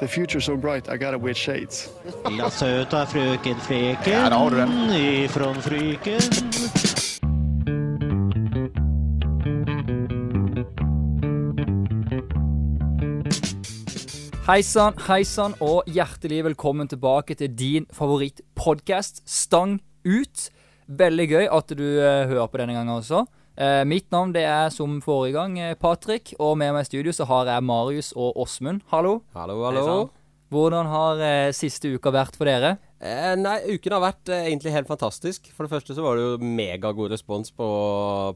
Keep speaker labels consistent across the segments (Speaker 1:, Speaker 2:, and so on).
Speaker 1: The future's so bright, I gotta wear shades.
Speaker 2: La søta frøken Freken
Speaker 3: Der har du den.
Speaker 2: ifrån Fryken.
Speaker 4: Hei sann, hei sann, og hjertelig velkommen tilbake til din favorittpodkast, Stang ut. Veldig gøy at du eh, hører på denne gangen også. Eh, mitt navn det er som forrige gang eh, Patrick, og med meg i studio så har jeg Marius og Åsmund. Hallo.
Speaker 5: Hallo, hallo.
Speaker 4: Hvordan har eh, siste uka vært for dere?
Speaker 5: Eh, nei, uken har vært eh, egentlig helt fantastisk. For det første så var det jo megagod respons på,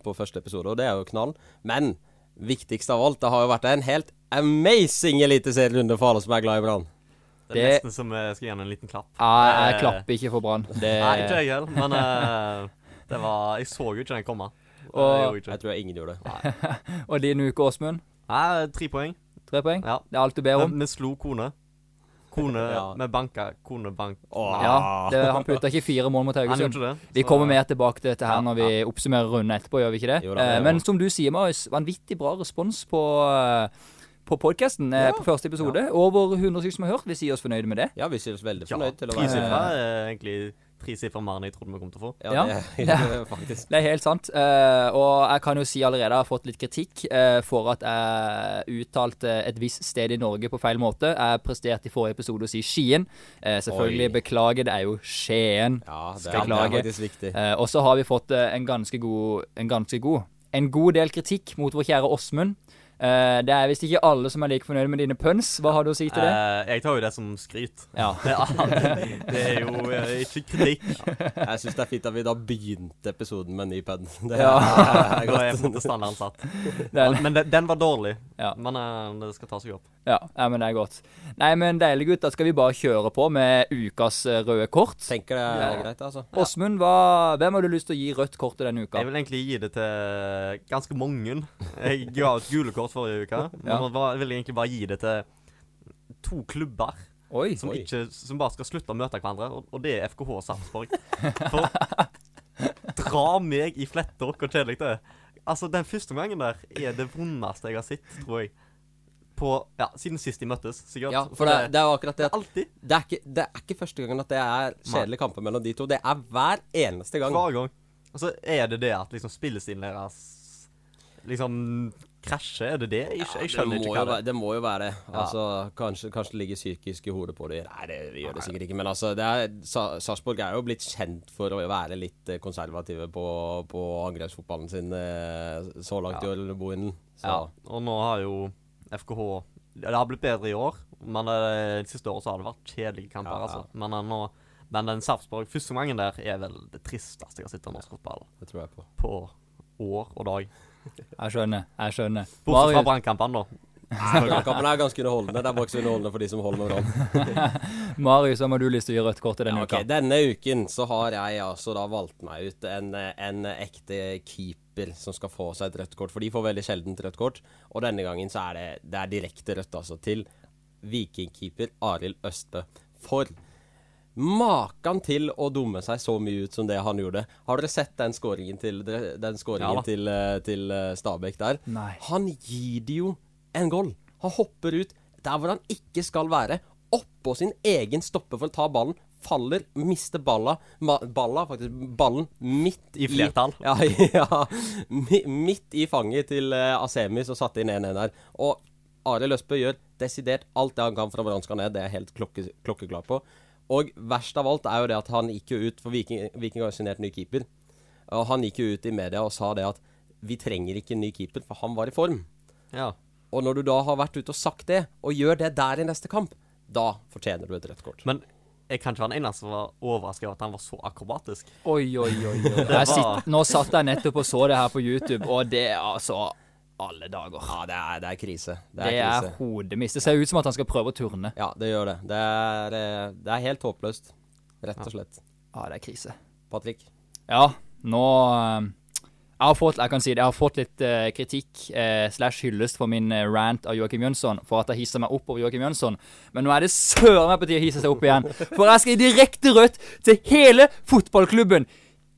Speaker 5: på første episode, og det er jo knall. Men viktigst av alt, det har jo vært en helt amazing eliteserierunde for alle som er glad i Brann.
Speaker 6: Det er nesten som jeg skal gi han en liten klapp.
Speaker 4: Jeg, jeg
Speaker 6: Eh,
Speaker 4: klapper ikke for Brann. Det-
Speaker 6: Nei, ikke jeg heller, men eh, det var Jeg så jo ikke den komme. Det
Speaker 4: Og-
Speaker 6: gjorde jeg ikke.
Speaker 5: Jeg tror jeg ingen gjorde det.
Speaker 4: Og din uke, Åsmund?
Speaker 6: Nei, eh, tre poeng.
Speaker 4: Tre poeng?
Speaker 6: Ja.
Speaker 4: Det er alt du ber om?
Speaker 6: Vi, vi slo kone. Kone
Speaker 5: Ja.
Speaker 6: Vi banka kone bank...
Speaker 5: Åh.
Speaker 4: Ja, det, Han putta ikke fire mål mot
Speaker 6: Han
Speaker 4: Haugesund.
Speaker 6: gjorde ikke det.
Speaker 4: Vi
Speaker 6: så-
Speaker 4: kommer mer tilbake til dette her
Speaker 6: Ja,
Speaker 4: når vi oppsummerer runden etterpå, gjør vi ikke det?
Speaker 5: Jo da, det
Speaker 4: Eh,
Speaker 5: gjør vi.
Speaker 4: Men som du sier, Marius, vanvittig bra respons på, eh, på podkasten på første episode. Over 100 stykker som har hørt. Vi sier oss fornøyde med det.
Speaker 5: Ja, vi synes veldig
Speaker 6: Ja,
Speaker 5: fornøyd til å være
Speaker 6: tresifra er egentlig tresifra mer enn jeg trodde vi kom til å få.
Speaker 5: Ja,
Speaker 4: Ja.
Speaker 5: det er faktisk
Speaker 4: Det er helt sant. Eh, og jeg kan jo si allerede jeg har fått litt kritikk eh, for at jeg uttalte et visst sted i Norge på feil måte. Jeg presterte i forrige episode å si Skien. Eh, selvfølgelig,
Speaker 5: Oi.
Speaker 4: beklager, det er jo Skien.
Speaker 5: Ja, det
Speaker 4: Skal
Speaker 5: er, det er
Speaker 4: klage.
Speaker 5: faktisk viktig.
Speaker 4: Eh, og så har vi fått eh, en ganske god En ganske god En god del kritikk mot vår kjære Åsmund. Eh, det er visst ikke alle som er like fornøyd med dine pønns. Hva har du å si til det?
Speaker 6: Eh, jeg tar jo det som skryt.
Speaker 4: Ja.
Speaker 6: Det er, det er jo eh, ikke kritikk.
Speaker 5: Jeg synes det er fint at vi da begynte episoden med en ny pad. Det
Speaker 4: Ja.
Speaker 5: er
Speaker 6: Da er på en
Speaker 5: godt.
Speaker 6: måte standarden satt.
Speaker 4: Den-
Speaker 6: Men den, den var dårlig.
Speaker 4: Ja.
Speaker 6: Men eh, det skal ta seg opp.
Speaker 4: ja, ja, men det er godt. Nei, men deilig, gutt. Da skal vi bare kjøre på med ukas eh, røde kort.
Speaker 5: Tenker det er greit, altså.
Speaker 4: Åsmund, hva- hvem har du lyst til å gi rødt kort til denne uka?
Speaker 6: Jeg vil egentlig gi det til ganske mange. Jeg ga ut gule kort forrige uke. Men
Speaker 4: Ja.
Speaker 6: jeg var- vil egentlig bare gi det til to klubber
Speaker 4: Oi.
Speaker 6: som,
Speaker 5: Oi.
Speaker 6: ikke, som bare skal slutte å møte hverandre, og, og det er FKH og Sarpsborg. For dra meg i fletter, hvor kjedelig det er. Altså, den første gangen der er det vondeste jeg har sett, tror jeg. På, ja, Siden sist de møttes, sikkert.
Speaker 5: Ja, for det, det er jo akkurat det at
Speaker 6: Alltid.
Speaker 5: Det er, ikke, det er ikke første gangen at det er kjedelige kamper mellom de to. Det er hver eneste gang.
Speaker 6: Hver gang. Og så er det det at liksom spillestilen deres liksom krasjer. Er det det? Jeg, jeg skjønner
Speaker 5: det, må jo
Speaker 6: ikke hva det er.
Speaker 5: være, det må jo være det. Altså, kanskje, kanskje det ligger psykisk i hodet på dem. Nei, det det gjør det sikkert ikke. Men altså, det er, Sa- Sarpsborg er jo blitt kjent for å være litt eh, konservative på, på angrepsfotballen sin eh, så langt i år, eller Bohinen. Så
Speaker 6: Ja, og nå har jo FKH ja, Det har blitt bedre i år, men eh, de siste året så har det vært kjedelige kamper.
Speaker 5: Ja, ja.
Speaker 6: altså. Men, eh, nå, men den Sarpsborg første gangen der er vel det tristeste jeg har sett av norsk fotball
Speaker 5: det tror jeg på.
Speaker 6: på år og dag.
Speaker 4: Jeg skjønner. Jeg skjønner.
Speaker 6: Bortsett fra
Speaker 4: Marius,
Speaker 6: brannkampen, da.
Speaker 5: Kampen er ganske underholdende. Det er bare ikke så underholdende for de som holder med hverandre.
Speaker 4: Marius, hvem har du lyst til å gi rødt kort til denne
Speaker 5: Ja, ok.
Speaker 4: uka?
Speaker 5: Denne uken så har jeg altså da valgt meg ut en, eh, en ekte keeper som skal få seg et rødt kort, for de får veldig sjeldent rødt kort. Og denne gangen så er det, det er direkte rødt, altså, til vikingkeeper Arild Østbø. For Makan til å dumme seg så mye ut som det han gjorde. Har dere sett den skåringen til, den scoringen
Speaker 6: Ja da.
Speaker 5: til, eh, til eh, Stabæk der?
Speaker 4: Nei.
Speaker 5: Han gir det jo en goal. Han hopper ut der hvor han ikke skal være. Oppå sin egen stopper for å ta ballen. Faller, mister balla ma, Balla, faktisk. Ballen midt
Speaker 6: I flertall.
Speaker 5: Ja, ja mi, midt i fanget til eh, Asemi, som satte inn 1-1 her. Og Arild Østbø gjør desidert alt det han kan for at Brann skal ned. Det er jeg helt klokke, klokkeklar på. Og verst av alt er jo det at han gikk jo ut, for Viking, Viking har jo signert ny keeper. Og han gikk jo ut i media og sa det at vi trenger ikke en ny keeper, for han var i form.
Speaker 6: Ja.
Speaker 5: Og når du da har vært ute og sagt det, og gjør det der i neste kamp, da fortjener du et rødt kort.
Speaker 6: Men jeg kan ikke være den eneste som var overraska over at han var så akrobatisk.
Speaker 4: Oi, oi, oi. oi. Jeg sitter, nå satt jeg nettopp og så det her på YouTube, og det er altså alle dager.
Speaker 5: Ja, det er, det er krise. Det er
Speaker 4: Det er
Speaker 5: krise.
Speaker 4: hodemist. Det ser ut som at han skal prøve å turne.
Speaker 5: Ja, det gjør det. Det er, eh, det er helt håpløst. Rett og slett.
Speaker 4: Ja, Ah, det er krise.
Speaker 5: Patrick?
Speaker 4: Ja, nå eh, jeg har fått, jeg kan si det, jeg har fått litt eh, kritikk eh, slash hyllest for min eh, rant av Joakim Jønsson, for at jeg hisser meg opp over Joakim Jønsson. Men nå er det søren meg på tide å hisse seg opp igjen. For jeg skal i direkte rødt til hele fotballklubben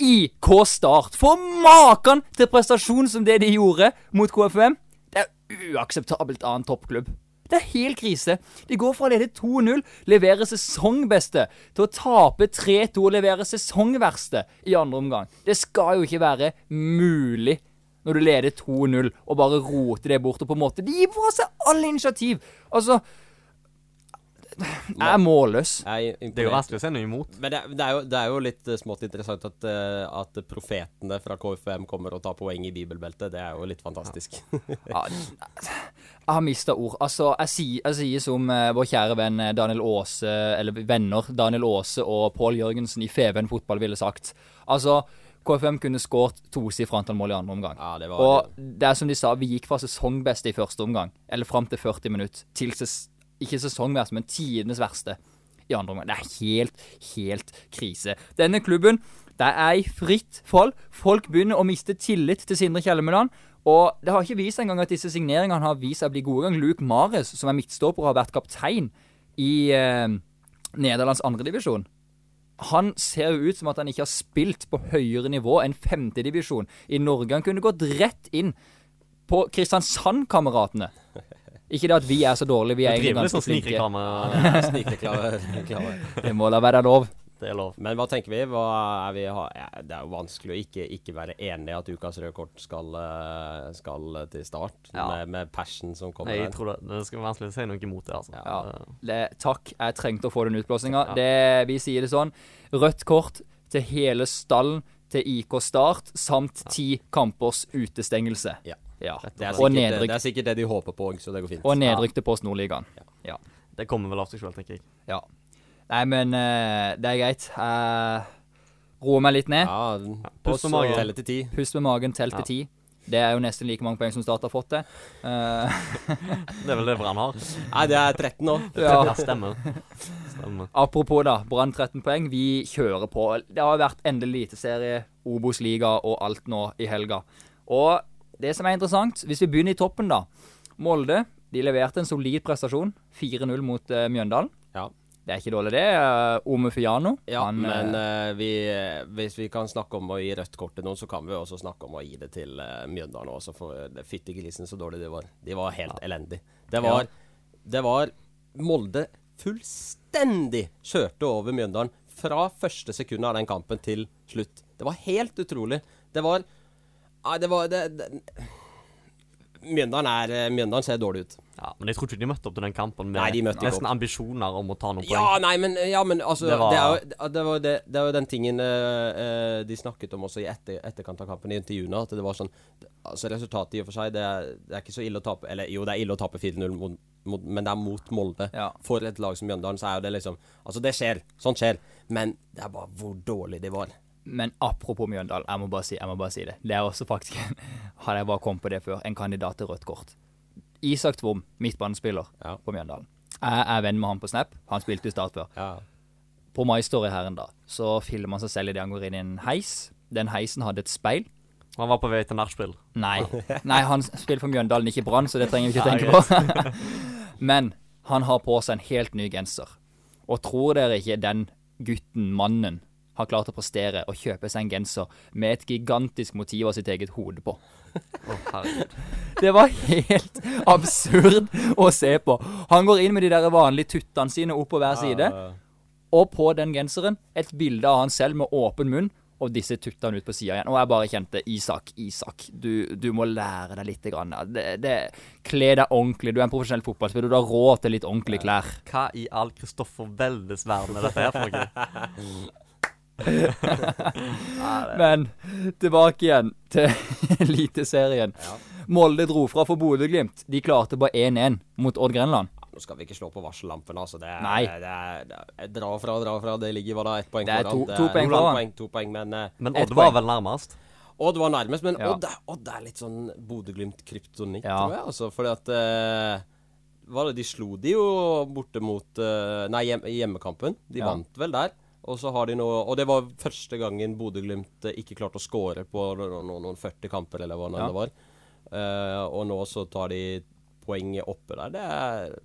Speaker 4: IK Start. For maken til prestasjon som det de gjorde mot KFUM! Det er uakseptabelt av en toppklubb. Det er helt krise. De går fra å lede 2-0, levere sesongbeste, til å tape 3-2 og levere sesongverste i andre omgang. Det skal jo ikke være mulig når du leder 2-0 og bare roter det bort. Og på en måte De gir fra seg alle initiativ! Altså Jeg er målløs.
Speaker 5: Jeg
Speaker 6: Det er jo vanskelig å se noe imot.
Speaker 5: Men det, er- det, er jo, det er jo litt eh, smått interessant at, eh, at profetene fra KFUM kommer og tar poeng i bibelbeltet. Det er jo litt fantastisk.
Speaker 4: Ja, Jeg har mista ord. Altså, jeg sier, jeg sier som eh, vår kjære venn eh, Daniel Aase, eller venner Daniel Aase og Pål Jørgensen i Feven fotball ville sagt. Altså, KFM kunne skåret tosifret antall mål i andre omgang.
Speaker 5: Ja, det var
Speaker 4: og det er som de sa, vi gikk fra sesongbeste i første omgang, eller fram til 40 minutter, til ses ikke sesongverste, men tidenes verste i andre omgang. Det er helt, helt krise. Denne klubben, det er i fritt fall. Folk begynner å miste tillit til Sindre Kjelmeland. Og det har ikke vist engang at disse signeringene har vist seg å bli gode. gang. Luke Mares, som er midtstopper og har vært kaptein i eh, Nederlands andredivisjon, han ser jo ut som at han ikke har spilt på høyere nivå enn femtedivisjon i Norge. Han kunne gått rett inn på Kristiansand-kameratene. Ikke det at vi er så dårlige, vi er
Speaker 6: Du
Speaker 4: egentlig
Speaker 6: driver litt
Speaker 4: ganske
Speaker 6: sånn
Speaker 4: flinke.
Speaker 6: snikreklame.
Speaker 5: Snikreklame. reklame.
Speaker 4: Det må da være lov.
Speaker 6: Det er lov.
Speaker 5: Men hva tenker vi? Hva er vi ha? ja, det er jo vanskelig å ikke, ikke være enig i at ukas røde kort skal, eh, skal eh, til start,
Speaker 6: Ja.
Speaker 5: med, med passion som kommer
Speaker 6: Nei, jeg
Speaker 5: der.
Speaker 6: tror det, det skal være vanskelig å si noe imot det, altså.
Speaker 4: Ja. Det, takk, jeg trengte å få den utblåsninga.
Speaker 6: Ja.
Speaker 4: Det- Vi sier det sånn. Rødt kort til hele stallen til IK Start samt ti kampers utestengelse.
Speaker 5: Ja. Det, er
Speaker 4: Og,
Speaker 5: sikkert, eh, det, det
Speaker 4: nedrykk,
Speaker 5: er sikkert det de håper på, så det går fint.
Speaker 4: og nedrykk til Post Nordligaen. Ja.
Speaker 6: Det kommer vel av seg sjøl, tenker jeg.
Speaker 4: ja. Nei, men eh, det er greit. Jeg roer meg litt ned.
Speaker 5: Ja, og
Speaker 6: pust på
Speaker 5: så
Speaker 6: magen.
Speaker 5: telle til ti.
Speaker 4: Pust med magen, tell til ti. Det er jo nesten like mange poeng som Start har fått det. Eh,
Speaker 6: Det er vel det Brann har.
Speaker 5: Nei, det er 13 nå.
Speaker 4: ja.
Speaker 6: Ja, stemmer. stemmer.
Speaker 4: Apropos da, Brann 13 poeng, vi kjører på. Det har vært endelig eliteserie, Obos-liga og alt nå i helga. Og det som er interessant, hvis vi begynner i toppen, da. Molde de leverte en solid prestasjon. 4-0 mot eh, Mjøndalen.
Speaker 5: Ja.
Speaker 4: Det er ikke dårlig, det. Uh, Ome Fiano.
Speaker 5: Ja,
Speaker 4: han,
Speaker 5: men
Speaker 4: eh,
Speaker 5: eh, vi, eh, hvis vi kan snakke om å gi rødt kort til noen, så kan vi også snakke om å gi det til eh, Mjøndalen også, for det fytti grisen så dårlig de var. De var helt elendige. Det var, det var Molde fullstendig kjørte over Mjøndalen fra første sekund av den kampen til slutt. Det var helt utrolig. Det var Nei, det var det, det, Mjøndalen, er, eh, Mjøndalen ser dårlig ut.
Speaker 6: Ja, men jeg tror ikke de møtte opp til den kampen med
Speaker 5: Nei, de møtte ikke
Speaker 6: nesten ambisjoner om å ta noen
Speaker 5: Ja, nei, men, ja, men altså, det,
Speaker 6: Det var-
Speaker 5: er jo, det, var, det, det er jo den tingen eh, eh, de snakket om også i etter, etterkant av kampen i intervjuene. At det var sånn Altså, resultatet i og for seg, det er, det er ikke så ille å tape Eller jo, det er ille å tape 4-0, mot- mot- men det er mot Molde.
Speaker 4: Ja.
Speaker 5: For et lag som Mjøndalen, så er jo det liksom Altså, det skjer. Sånt skjer. Men det er bare hvor dårlig de var.
Speaker 4: Men apropos Mjøndalen, jeg må bare si, jeg må bare si det. Det er også faktisk en, hadde jeg bare kommet på det før, en kandidat til rødt kort. Isak Tvom, midtbanespiller
Speaker 5: Ja.
Speaker 4: på Mjøndalen. Jeg er venn med han på Snap. Han spilte i Start før. På My Story her en dag, så filmer han seg selv idet han går inn i en heis. Den heisen hadde et speil.
Speaker 6: Han var på vei til nachspiel.
Speaker 4: Nei, Nei han spiller for Mjøndalen, ikke Brann, så det trenger vi ikke tenke på. Men han har på seg en helt ny genser. Og tror dere ikke den gutten, mannen, har klart å prestere og kjøpe seg en genser med et gigantisk motiv av sitt eget hode på?
Speaker 6: Å, herregud.
Speaker 4: Det var helt absurd å se på. Han går inn med de der vanlige tuttene sine opp på hver side. Og på den genseren et bilde av han selv med åpen munn, og disse tutta han ut på sida igjen. Og jeg bare kjente Isak, Isak, du, du må lære deg litt. Grann. Det, det, kle deg ordentlig. Du er en profesjonell fotballspiller, du har råd til litt ordentlige klær.
Speaker 6: Hva i all Kristoffer Veldes verden er dette her for noe?
Speaker 4: Men tilbake igjen til Eliteserien. Molde dro fra for Bodø-Glimt. De klarte bare 1-1 mot Odd Grenland.
Speaker 5: Ja, Nå skal vi ikke slå på varsellampene, altså. Det er,
Speaker 4: Nei.
Speaker 5: Det er, det er, dra fra, dra fra. Det ligger hva da, ett poeng
Speaker 4: Det er
Speaker 5: foran.
Speaker 4: to- to poeng
Speaker 5: noen
Speaker 4: foran.
Speaker 5: poeng, to poeng, men eh,
Speaker 6: Men
Speaker 4: Ett
Speaker 6: Odd var
Speaker 4: poeng.
Speaker 6: vel nærmest.
Speaker 5: Odd var nærmest, men
Speaker 4: Ja.
Speaker 5: Odd, er, Odd er litt sånn Bodø-Glimt-kryptonitt,
Speaker 4: Ja.
Speaker 5: tror jeg. Altså, fordi at eh, hva var det, De slo de jo borte mot eh, Nei, hjem, i hjemmekampen. De
Speaker 4: Ja.
Speaker 5: vant vel der. Og så har de noe, og det var første gangen Bodø-Glimt eh, ikke klarte å score på no- no- noen 40 kamper, eller hva nå
Speaker 4: Ja.
Speaker 5: det var. Eh, og nå så tar de poenget oppe der. Det er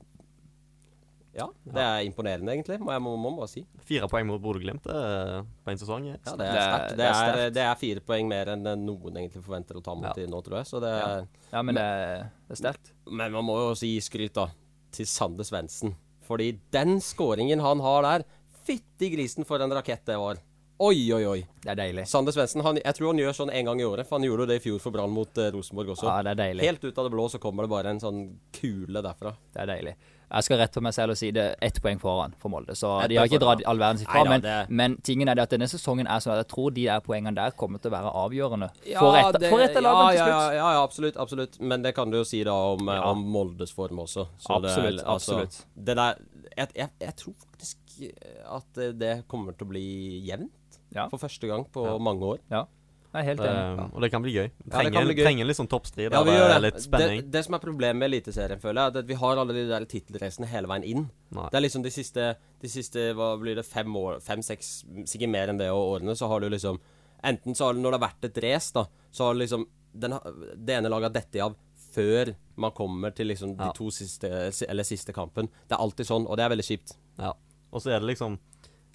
Speaker 5: Ja, det er imponerende, egentlig, må jeg må, må bare si.
Speaker 6: Fire poeng mot Bodø-Glimt eh, på en sesong.
Speaker 5: Ja, det
Speaker 6: Ja.
Speaker 5: er
Speaker 4: Det er-
Speaker 5: sterkt. Det,
Speaker 4: det er
Speaker 5: er-
Speaker 4: sterkt.
Speaker 5: det er fire poeng mer enn noen egentlig forventer å ta mot
Speaker 6: Ja.
Speaker 5: i nå, tror jeg. Så det er
Speaker 4: Ja, men det, det er sterkt.
Speaker 5: Men man må jo også gi skryt, da. til Sander Svendsen. Fordi den skåringen han har der Fytti grisen, for en rakett det var. Oi, oi, oi.
Speaker 4: Det er deilig.
Speaker 5: Sander Svendsen han- jeg tror han gjør sånn en gang i året. For han gjorde jo det i fjor for Brann mot eh, Rosenborg også.
Speaker 4: Ja, det er deilig.
Speaker 5: Helt ut av det blå så kommer det bare en sånn kule derfra.
Speaker 4: Det er deilig. Jeg skal rette på meg selv og si det er ett poeng foran for Molde. Så
Speaker 5: Ett
Speaker 4: de har
Speaker 5: poeng
Speaker 4: ikke
Speaker 5: foran.
Speaker 4: dratt all verden sitt fra.
Speaker 5: Neida,
Speaker 4: Men,
Speaker 5: det-
Speaker 4: men tingen er det at denne sesongen er sånn at jeg tror de der poengene der kommer til å være avgjørende
Speaker 5: Ja,
Speaker 4: for et,
Speaker 5: det-
Speaker 4: for et av
Speaker 5: ja,
Speaker 4: lagene til
Speaker 5: ja,
Speaker 4: slutt.
Speaker 5: ja, ja, absolutt, absolutt. Men det kan du jo si da om, eh, om Moldes form også. Så
Speaker 4: Absolutt,
Speaker 5: det, er- altså,
Speaker 4: absolutt.
Speaker 5: Det der, jeg, jeg, jeg tror faktisk at eh, det kommer til å bli jevnt.
Speaker 4: Ja.
Speaker 5: For første gang på mange år.
Speaker 4: Jeg er helt enig.
Speaker 6: Eh, og det kan bli gøy.
Speaker 5: Ja,
Speaker 6: Vi
Speaker 5: det
Speaker 6: trenger,
Speaker 5: kan bli gøy.
Speaker 6: trenger litt sånn toppstrid.
Speaker 5: Ja, vi
Speaker 6: eller
Speaker 5: gjør det.
Speaker 6: Litt spenning.
Speaker 5: Det, det som er problemet med Eliteserien, føler jeg, er at vi har alle de der tittelracene hele veien inn.
Speaker 6: Nei.
Speaker 5: Det er liksom de siste, de siste hva blir det, fem år, fem-seks, sikkert mer enn det og årene, så har du liksom Enten så har du, når det har vært et race, da, så har du liksom den, har- Det ene laget har dette av før man kommer til liksom de
Speaker 6: Ja.
Speaker 5: to siste, eller siste kampen. Det er alltid sånn, og det er veldig kjipt.
Speaker 6: Ja. Og så er det liksom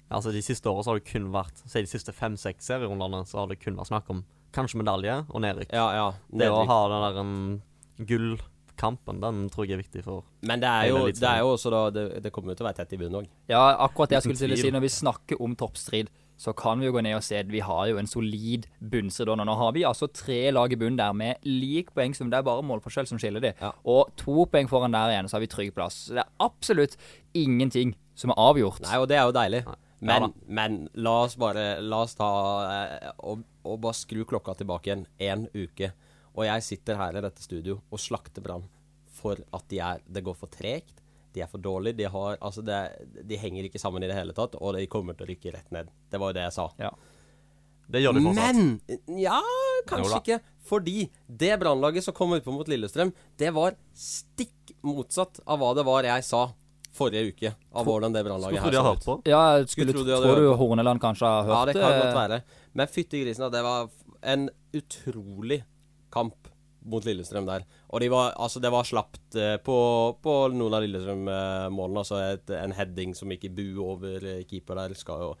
Speaker 6: Altså De siste årene så har det kun vært Si de siste fem-seks serierundene så har det kun vært snakk om kanskje medalje og nedrykk.
Speaker 5: Ja, ja.
Speaker 6: Det å
Speaker 5: nedrykk.
Speaker 6: ha den der um, gullkampen, den tror jeg er viktig for
Speaker 5: Men det er,
Speaker 6: Det er
Speaker 5: jo,
Speaker 6: litt sånn.
Speaker 5: det er jo også da Det, det kommer jo til å være tett i bunnen òg.
Speaker 4: Ja, akkurat det jeg skulle til å
Speaker 6: tvil.
Speaker 4: si. Når vi snakker om toppstrid, så kan vi jo gå ned og se at vi har jo en solid bunnstrid. Og nå har vi altså tre lag i bunnen der med lik poengsum. Det er bare målforskjell som skiller de.
Speaker 5: Ja.
Speaker 4: Og to poeng foran der igjen, så har vi trygg plass. Så det er absolutt ingenting som er avgjort.
Speaker 5: Nei, og det er jo deilig.
Speaker 6: Ja
Speaker 5: Men,
Speaker 6: da.
Speaker 5: men la oss bare La oss ta eh, og, og bare skru klokka tilbake igjen én uke. Og jeg sitter her i dette studio og slakter Brann for at de er Det går for tregt. De er for dårlige. De, har, altså det, de henger ikke sammen i det hele tatt, og de kommer til å rykke rett ned. Det var jo det jeg sa.
Speaker 4: Ja.
Speaker 6: Det gjør de fortsatt.
Speaker 5: Men Ja, kanskje
Speaker 6: Jo da.
Speaker 5: ikke. Fordi det brannlaget som kom utpå mot Lillestrøm, det var stikk motsatt av hva det var jeg sa forrige uke. Av hvordan det
Speaker 6: Skulle
Speaker 5: brannlaget
Speaker 6: tro
Speaker 5: her
Speaker 6: de har
Speaker 5: så
Speaker 6: hørt
Speaker 5: ut.
Speaker 6: på.
Speaker 4: Ja, jeg
Speaker 5: Skulle
Speaker 4: skulle
Speaker 5: tro
Speaker 4: tro
Speaker 5: de hadde
Speaker 4: tror du
Speaker 5: hørt
Speaker 4: Horneland kanskje har
Speaker 5: Ja,
Speaker 4: hørt
Speaker 5: det kan godt
Speaker 4: eh,
Speaker 5: være. Men fytti grisen, da, det var f- en utrolig kamp mot Lillestrøm der. Og de var, altså, det var slapt eh, på, på noen av Lillestrøm-målene. Altså et, en heading som gikk i bu over eh, keeper der. Skal jo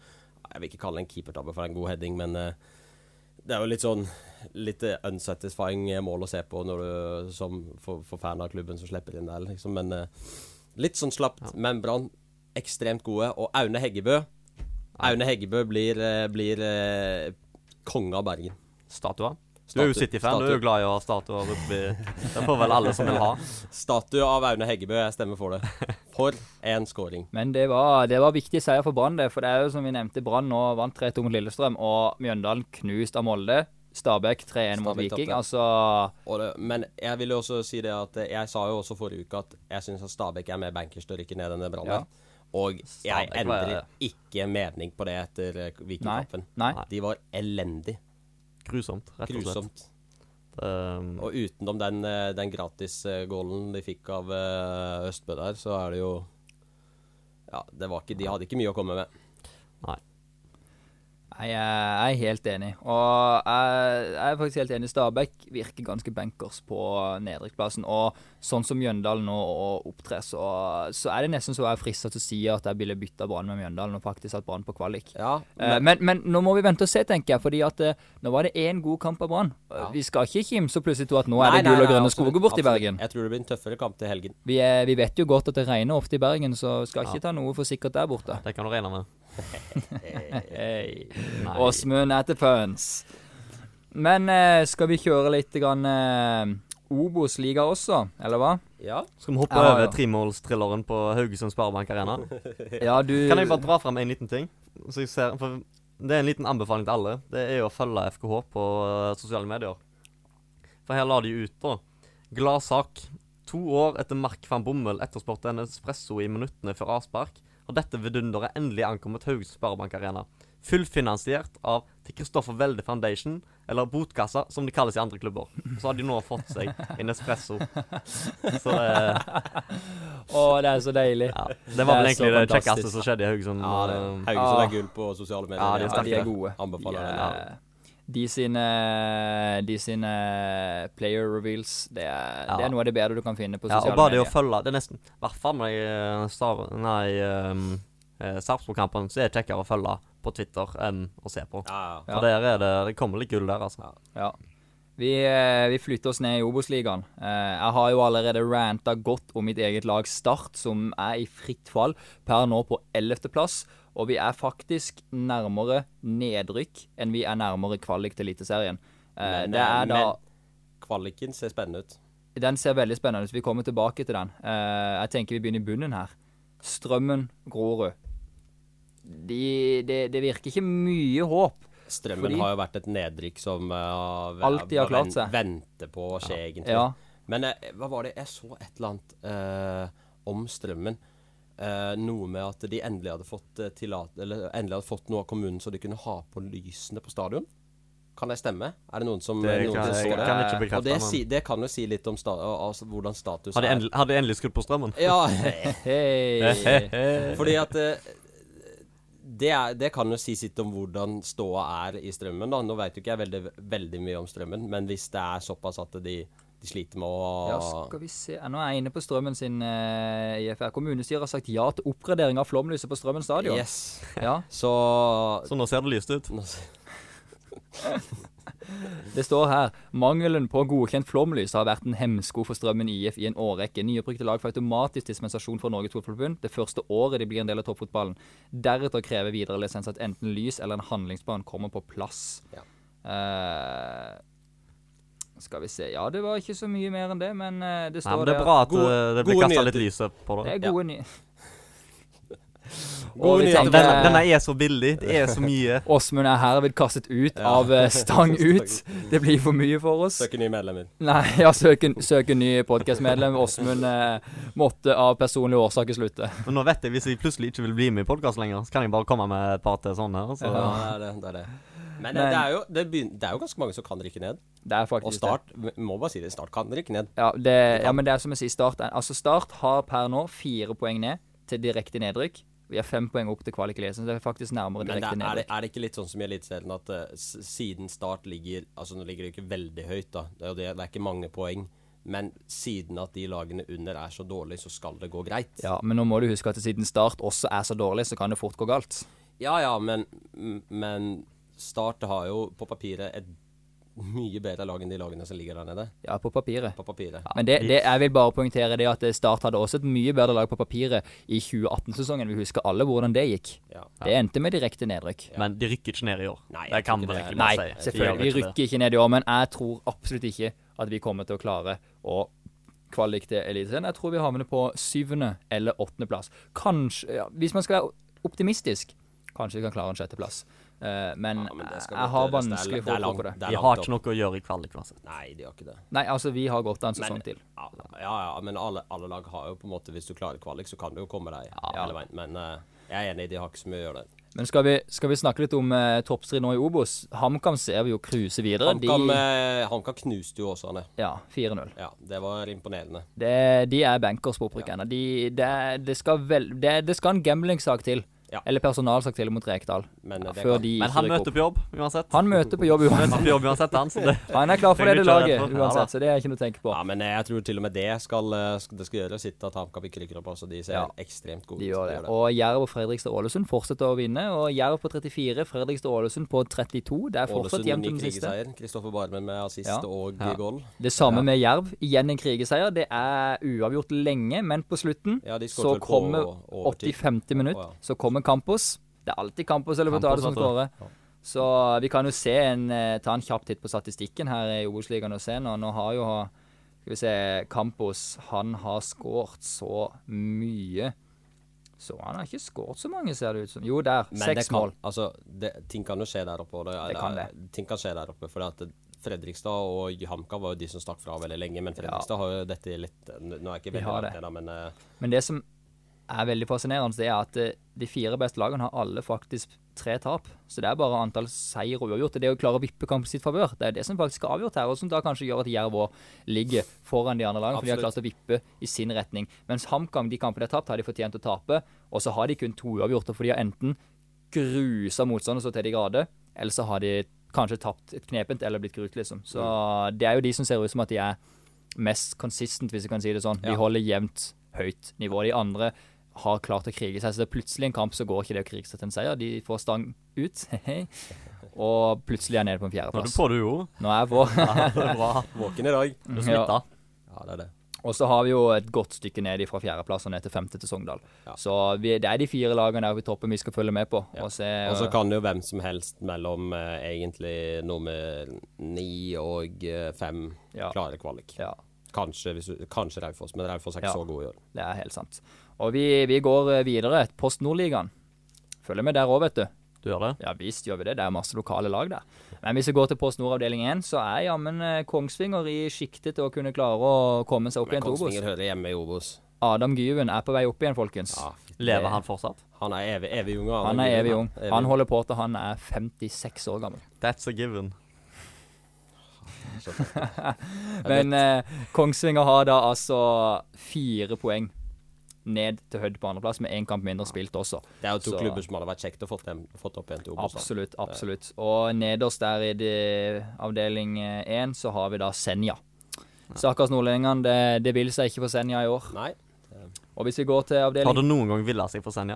Speaker 5: Jeg vil ikke kalle det en keepertabbe for det er en god heading, men eh, det er jo litt sånn litt eh, unsatisfying eh, mål å se på når du, som for, for fan av klubben som slipper inn der, liksom. Men eh, litt sånn slapt. Men Brann ekstremt gode. Og Aune Heggebø Aune Heggebø blir, eh, blir eh, konge av Bergen.
Speaker 6: Statuer. Du er jo
Speaker 5: Statue-
Speaker 6: City-fan. Du
Speaker 5: statue.
Speaker 6: er jo glad i å ha statuer oppi Det får vel alle som vil ha.
Speaker 5: Statue av Aune Heggebø, jeg stemmer for det. For en scoring.
Speaker 4: Men det var, det var viktig seier for Brann, det. For det er jo som vi nevnte, Brann nå vant 3-2 mot Lillestrøm, og Mjøndalen knust av Molde. Stabæk 3-1 mot
Speaker 5: Stabæk
Speaker 4: Viking.
Speaker 5: tapte.
Speaker 4: Altså
Speaker 5: Og det, men jeg vil jo også si det at eh, jeg sa jo også forrige uke at jeg syns Stabæk er mer bankers til å rykke ned enn det Brann
Speaker 4: Ja.
Speaker 5: er. Og jeg
Speaker 6: Stabæk var-
Speaker 5: endrer ikke mening på det etter eh, Vikingkampen.
Speaker 4: Nei, nei.
Speaker 5: De var elendig.
Speaker 6: Grusomt, rett og slett.
Speaker 5: Grusomt.
Speaker 6: Um,
Speaker 5: Og utenom den, eh, den gratis-goalen de fikk av eh, Østbø der, så er det jo Ja, det var ikke, de hadde ikke mye å komme med.
Speaker 6: nei.
Speaker 4: Nei, jeg jeg er helt enig. Og jeg, jeg er faktisk helt enig. Stabæk virker ganske bankers på nedrykksplassen. Og sånn som Mjøndalen nå og opptrer, så, så er det nesten så jeg er frista til å si at jeg ville bytta Brann med Mjøndalen, og faktisk hatt Brann på kvalik.
Speaker 5: Ja,
Speaker 4: Eh, Men, men nå må vi vente og se, tenker jeg. fordi at eh, nå var det én god kamp av Brann.
Speaker 5: Ja.
Speaker 4: Vi skal ikke kimse plutselig til at nå er
Speaker 5: Nei,
Speaker 4: det
Speaker 5: nei,
Speaker 4: gull og
Speaker 5: nei,
Speaker 4: grønne
Speaker 5: absolutt,
Speaker 4: skoger borte i
Speaker 5: absolutt.
Speaker 4: Bergen.
Speaker 5: Jeg tror det blir en tøffere kamp til helgen.
Speaker 4: Vi, er, vi vet jo godt at det regner ofte i Bergen, så skal ikke ta noe for sikkert der borte.
Speaker 6: Det kan du regne med.
Speaker 4: Hey. Åsmund er til pøns. Men eh, skal vi kjøre litt grann, eh, Obos-liga også, eller hva?
Speaker 5: Ja.
Speaker 6: Skal vi hoppe
Speaker 4: Ja, ja.
Speaker 6: over tremålstrilleren på Haugesund Sparebank Arena?
Speaker 4: Ja, du
Speaker 6: Kan jeg bare dra fram en liten ting? Så jeg ser, for det er en liten anbefaling til alle. Det er jo å følge FKH på eh, sosiale medier. For her la de ut, da. Glad sak. To år etter Mark van Bommel etterspurte en espresso i minuttene før avspark, har dette vidunderet endelig ankommet Haugesund Sparebank Arena. Fullfinansiert av til Kristoffer Welde Foundation, eller Botkassa, som det kalles i andre klubber. Så har de nå fått seg en espresso. Så det,
Speaker 4: Å, det er så deilig.
Speaker 6: ja, det var vel
Speaker 4: Det er så
Speaker 6: egentlig det
Speaker 4: fantastisk.
Speaker 6: kjekkeste som skjedde i Haugesund.
Speaker 5: ja det,
Speaker 6: eh,
Speaker 5: Haugesund er gull på sosiale medier.
Speaker 4: Ah.
Speaker 6: Ja, de er
Speaker 4: Ja, de
Speaker 6: sterke.
Speaker 4: er gode.
Speaker 5: Anbefaler
Speaker 4: de,
Speaker 5: den,
Speaker 4: er- de sine De sine player reveals, det er,
Speaker 6: Ja.
Speaker 4: det er noe av det bedre du kan finne på
Speaker 6: Ja,
Speaker 4: sosiale
Speaker 6: og bare det å
Speaker 4: medier.
Speaker 6: følge Det er nesten I hvert fall når jeg eh, star, Nei ehm, eh, Sarpsborg-kampen, så er det kjekkere å følge på Twitter enn å se på.
Speaker 5: Ja, ja.
Speaker 6: For der er det Det kommer litt gull der, altså.
Speaker 4: Ja. Vi, eh, vi flytter oss ned i Obos-ligaen. Eh, jeg har jo allerede ranta godt om mitt eget lag Start, som er i fritt fall per nå på 11.-plass. Og vi er faktisk nærmere nedrykk enn vi er nærmere kvalik til Eliteserien. Eh,
Speaker 5: Men,
Speaker 4: det
Speaker 5: eh,
Speaker 4: er da
Speaker 5: men- Kvaliken ser spennende ut.
Speaker 4: Den ser veldig spennende ut. Vi kommer tilbake til den. Eh, jeg tenker vi begynner i bunnen her. Strømmen, Grorud. De, det, det virker ikke mye håp.
Speaker 5: Strømmen
Speaker 4: Fordi-
Speaker 5: har jo vært et nedrykk som eh, har
Speaker 4: Alltid har klart seg.
Speaker 5: Vente på å skje, egentlig.
Speaker 4: Ja.
Speaker 5: Men eh, hva var det Jeg så et eller annet eh, om strømmen. Eh, noe med at de endelig hadde fått eh, tillat... Eller endelig hadde fått noe av kommunen så de kunne ha på lysene på stadion. Kan det stemme? Er det noen som,
Speaker 6: Det
Speaker 5: noen
Speaker 6: kan,
Speaker 5: som så
Speaker 6: jeg,
Speaker 5: det?
Speaker 6: kan ikke bekrefte.
Speaker 5: Og det,
Speaker 6: men-
Speaker 5: si, det kan jo si litt om sta, altså, hvordan status
Speaker 6: har, de
Speaker 5: er.
Speaker 6: endelig, har de endelig skrudd på strømmen?
Speaker 5: Ja,
Speaker 4: Hei.
Speaker 5: Fordi at eh, det, er, det kan jo si sitt om hvordan ståa er i strømmen. da. Nå vet jo ikke jeg veldig, veldig mye om strømmen, men hvis det er såpass at de, de sliter med å
Speaker 4: Ja, skal vi se. Ja, Nå er jeg inne på Strømmen sin eh, IFR. Kommunestyret har sagt ja til oppgradering av flomlyset på Strømmen stadion.
Speaker 5: Yes.
Speaker 4: Ja,
Speaker 5: Så
Speaker 6: Så nå ser det lyst ut.
Speaker 5: nå s-
Speaker 4: Det står her mangelen på godkjent flomlys har vært en hemsko for Strømmen IF i en årrekke. Nyopprykte lag får automatisk dispensasjon fra Norges Fotballforbund det første året de blir en del av toppfotballen. Deretter krever videre lisens at enten lys eller en handlingsplan kommer på plass.
Speaker 5: Ja.
Speaker 4: Eh, skal vi se. Ja, det var ikke så mye mer enn det, men eh, det
Speaker 6: Nei,
Speaker 4: står
Speaker 6: men Det er
Speaker 4: der.
Speaker 6: bra at
Speaker 5: Gode-
Speaker 6: eh, det blir
Speaker 5: gode
Speaker 6: kasta litt
Speaker 5: nyheter.
Speaker 6: lyset på
Speaker 4: Det
Speaker 6: det.
Speaker 4: er gode ny...
Speaker 5: Gode
Speaker 4: vi
Speaker 5: nyheter.
Speaker 4: tenker- eh,
Speaker 6: Denne, denne er så billig. Det er så mye.
Speaker 4: Åsmund er herved kastet ut
Speaker 5: Ja.
Speaker 4: av eh, stang ut.
Speaker 5: Stang
Speaker 4: Det blir for mye for oss.
Speaker 5: søker nye medlemmer.
Speaker 4: Nei, ja, søk en, søk en ny podkastmedlem. Åsmund eh, måtte av personlige årsaker slutte.
Speaker 6: Men nå vet jeg, Hvis jeg plutselig ikke vil bli med i podkast lenger, så kan jeg bare komme med et par til sånne. altså. her, Så.
Speaker 5: Ja, det er det. det, er det. Men, eh,
Speaker 4: Men-
Speaker 5: det, er jo, det, begyn- det er jo ganske mange som kan rykke ned.
Speaker 4: Det er faktisk
Speaker 5: Og Start vi må bare si det, Start kan rykke ned.
Speaker 4: det. Ja, det. Ja, men det er som jeg sier, Start er- Altså, Start har per nå fire poeng ned til direkte nedrykk. Vi har fem poeng opp til kvalik i så det er faktisk nærmere
Speaker 5: Men det,
Speaker 4: direkte
Speaker 5: er, det,
Speaker 4: nedrykk.
Speaker 5: er det ikke litt sånn som i Eliteserien at eh, s- siden start ligger Altså nå ligger det jo ikke veldig høyt, da. Det er, jo det, det er ikke mange poeng. Men siden at de lagene under er så dårlige, så skal det gå greit.
Speaker 4: Ja, men nå må du huske at siden Start også er så dårlig, så kan det fort gå galt.
Speaker 5: ja, ja, men, m- men Start har jo på papiret et mye bedre lag enn de lagene som ligger der nede.
Speaker 4: Ja, på papiret.
Speaker 5: På papiret.
Speaker 4: Men det, det, jeg vil bare poengtere det at eh, Start hadde også et mye bedre lag på papiret i 2018-sesongen. Vi husker alle hvordan det gikk.
Speaker 5: Ja.
Speaker 4: Det endte med direkte nedrykk.
Speaker 6: Men de rykker ikke ned i år.
Speaker 5: Nei, jeg
Speaker 6: det kan
Speaker 5: tror ikke
Speaker 6: man
Speaker 5: det.
Speaker 6: egentlig
Speaker 4: Nei,
Speaker 6: bare si.
Speaker 4: selvfølgelig. Vi
Speaker 6: gjør ikke det.
Speaker 4: rykker ikke ned i år, men jeg tror absolutt ikke at vi kommer til å klare å kvalik til Eliteserien. Jeg tror vi havner på syvende eller åttendeplass. Kanskje ja, Hvis man skal være optimistisk, kanskje vi kan klare en sjetteplass. Eh, men,
Speaker 5: Ja, men det skal godt
Speaker 4: jeg har
Speaker 5: gjøres. Det er-
Speaker 4: vanskelig
Speaker 5: det
Speaker 4: for
Speaker 5: er
Speaker 4: å tro på det.
Speaker 5: langt- det er
Speaker 6: De
Speaker 5: langt
Speaker 6: har
Speaker 5: opp.
Speaker 6: ikke noe å gjøre i kvalik altså. uansett.
Speaker 5: Nei, de har ikke det.
Speaker 4: Nei, altså, vi har gått en sesong til.
Speaker 5: Ja, ja, ja, men alle, alle lag har jo på en måte Hvis du klarer kvalik, så kan du jo komme deg hele veien. Men eh, jeg er enig, de har ikke så mye å gjøre der.
Speaker 4: Men skal vi, skal vi snakke litt om eh, toppstrid nå i Obos? HamKam ser vi jo cruise videre.
Speaker 5: HamKam
Speaker 4: de,
Speaker 5: eh, HamKam knuste jo Åsane.
Speaker 4: ja, 4-0.
Speaker 5: Ja, det var imponerende.
Speaker 4: Det, de er bankers på opprykk ennå. De, det, det, skal vel, det, det skal en gamblingsak til.
Speaker 5: Ja.
Speaker 4: Eller personalsak til mot Rekdal.
Speaker 5: Men, eh, det
Speaker 4: før
Speaker 5: kan-
Speaker 4: de
Speaker 6: Men
Speaker 4: ikke
Speaker 6: han
Speaker 4: rykker
Speaker 6: møter
Speaker 4: opp.
Speaker 6: på jobb uansett.
Speaker 4: Han møter på jobb uansett.
Speaker 6: Møter på jobb uansett, han. Så det,
Speaker 4: Han er klar for
Speaker 6: Trenger
Speaker 4: det
Speaker 6: du ikke
Speaker 4: laget
Speaker 6: være redd for. Ja da.
Speaker 4: uansett, så det er ikke noe å tenke på.
Speaker 5: Ja, men eh, jeg tror til og med det skal, eh, sk- det skal gjøre sitt at HamKam ikke rykker opp. Altså, de ser
Speaker 4: Ja.
Speaker 5: ekstremt gode ut.
Speaker 4: De gjør det. Og Jerv og Fredrikstad Ålesund fortsetter å vinne. Og Jerv på 34, Fredrikstad Ålesund på 32. Det er fortsatt
Speaker 5: Ålesund
Speaker 4: jevnt
Speaker 5: unik
Speaker 4: om den siste.
Speaker 5: krigeseier. Kristoffer Barmen med assist
Speaker 4: Ja.
Speaker 5: og
Speaker 6: Ja.
Speaker 5: goal.
Speaker 4: Det samme med Jerv. Igjen en krigeseier. Det er uavgjort lenge, men på slutten
Speaker 5: Ja, de
Speaker 4: så
Speaker 5: skåret vel på
Speaker 4: kommer
Speaker 5: overtid.
Speaker 4: 85. minutt,
Speaker 5: Å, ja.
Speaker 4: så kommer Campos. Det er alltid Campos eller Furtado
Speaker 6: Campos,
Speaker 4: som
Speaker 6: vet
Speaker 5: altså.
Speaker 6: du.
Speaker 4: skårer. Så vi kan jo se en, eh, ta en kjapp titt på statistikken her i Obos-ligaen og se nå. Nå har jo Skal vi se Campos, han har skåret så mye. Så han har ikke skåret så mange, ser det ut som. Jo, der.
Speaker 5: Men det
Speaker 4: Seks
Speaker 5: kan,
Speaker 4: mål.
Speaker 5: altså, det, ting kan jo skje der oppe. Og det,
Speaker 4: Det kan
Speaker 5: er- Ting kan skje der oppe, fordi at Fredrikstad og HamKam var jo de som stakk fra veldig lenge. Men Fredrikstad har jo dette litt Nå nå er jeg ikke
Speaker 4: De
Speaker 5: veldig
Speaker 4: har
Speaker 5: langt ned,
Speaker 4: det.
Speaker 5: da, men eh,
Speaker 4: Men det som er veldig fascinerende, det er at eh, de fire beste lagene har alle faktisk tre tap. Så det er bare antall seier og uavgjort. og Det å klare å vippe kampen sitt favør, det er det som faktisk er avgjort her, og som da kanskje gjør at Jerv også ligger foran de andre lagene, for de har
Speaker 5: Absolutt.
Speaker 4: klart å vippe i sin retning. Mens HamKam, de kampene de har tapt, har de fortjent å tape, og så har de kun to uavgjorte, for de har enten grusa motstander så til de grader, eller så har de kanskje tapt et knepent eller blitt grut, liksom. Så det er jo de som ser ut som at de er mest consistent, hvis jeg kan si det sånn. De
Speaker 5: Ja.
Speaker 4: holder jevnt høyt nivå. De andre har klart å krige seg, så det er plutselig en kamp så går ikke det å krige seg til en seier. De får stang ut. Hehe. og plutselig er jeg nede på en
Speaker 6: Nå er du
Speaker 4: fjerdeplass.
Speaker 6: på, du jo.
Speaker 4: Nå er jeg på.
Speaker 6: Ja, det er bra.
Speaker 5: Våken i dag.
Speaker 6: Du
Speaker 4: Mm.
Speaker 6: smitta.
Speaker 5: Ja, det er det.
Speaker 4: Og så har vi jo et godt stykke ned fra fjerdeplass og ned til femte til Sogndal.
Speaker 5: Ja.
Speaker 4: Så vi, det er de fire lagene der oppe i toppen vi skal følge med på.
Speaker 5: Ja.
Speaker 4: Og se, øh,
Speaker 5: Og så kan jo hvem som helst mellom eh, egentlig nummer ni og eh, fem
Speaker 4: Ja.
Speaker 5: klare kvalik.
Speaker 4: ja,
Speaker 5: Kanskje, hvis du, kanskje Raufoss, men Raufoss er ikke
Speaker 4: Ja.
Speaker 5: så god i år.
Speaker 4: det er helt sant. Og vi, vi går eh, videre. Post Nordligaen. Følger med der òg, vet du.
Speaker 6: Du gjør det?
Speaker 4: Ja visst gjør vi det, det er masse lokale lag der. Men hvis vi går til Post Nord avdeling 1, så er jammen eh, Kongsvinger i sjiktet til å kunne klare å komme seg opp
Speaker 5: Men
Speaker 4: igjen til Obos.
Speaker 5: Kongsvinger hører hjemme i Obos.
Speaker 4: Adam Gyven er på vei opp igjen, folkens.
Speaker 5: Ja,
Speaker 6: Lever han fortsatt?
Speaker 5: han er evig, evig ung.
Speaker 4: Han er evig ung.
Speaker 5: Evig
Speaker 4: Han holder på til han er 56 år gammel.
Speaker 6: That's a given.
Speaker 4: Men eh, Kongsvinger har da altså fire poeng ned til Hødd på andreplass, med én kamp mindre spilt også.
Speaker 5: Det er jo to
Speaker 4: Så-
Speaker 5: klubber som hadde vært kjekt å fått, dem, fått opp igjen til Obos. da.
Speaker 4: Absolutt, absolutt. Og nederst der i de, avdeling én så har vi da Senja. Stakkars nordlendingene, det, det vil seg ikke for Senja i år.
Speaker 5: Nei.
Speaker 4: Og hvis vi går til
Speaker 6: Har
Speaker 4: avdeling
Speaker 6: det noen gang villa seg for Senja?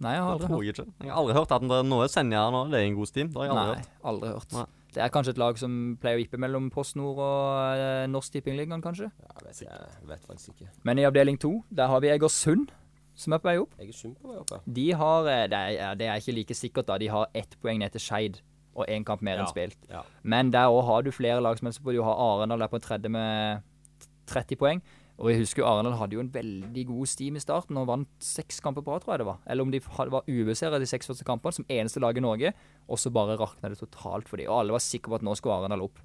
Speaker 4: Nei, jeg har
Speaker 6: Det
Speaker 4: aldri hørt.
Speaker 6: tror jeg ikke. Jeg har aldri hørt at det, nå er Senja nå, det er en god steam. Det har jeg aldri
Speaker 4: Nei,
Speaker 6: hørt.
Speaker 4: aldri hørt.
Speaker 6: Nei.
Speaker 4: Det er kanskje et lag som pleier å vippe mellom Post Nord og eh, Norsk Tippingligaen, kanskje.
Speaker 5: Jeg vet, jeg vet faktisk ikke.
Speaker 4: Men i avdeling to, der har vi Egersund, som er på vei opp.
Speaker 5: Jeg er sum på vei opp, ja.
Speaker 4: De har eh, Det er, ja, det er ikke like sikkert, da. De har ett poeng ned til Skeid og én kamp mer enn
Speaker 5: Ja,
Speaker 4: spilt.
Speaker 5: ja.
Speaker 4: Men der òg har du flere lag som helst på. Du har Arendal der på en tredje med 30 poeng. Og jeg husker jo Arendal hadde jo en veldig god steam i starten og vant seks kamper på rad, tror jeg det var. Eller om de had- var ubeseiret de seks første kampene, som eneste lag i Norge. Og så bare rakna det totalt for dem. Og alle var sikre på at nå skulle Arendal opp.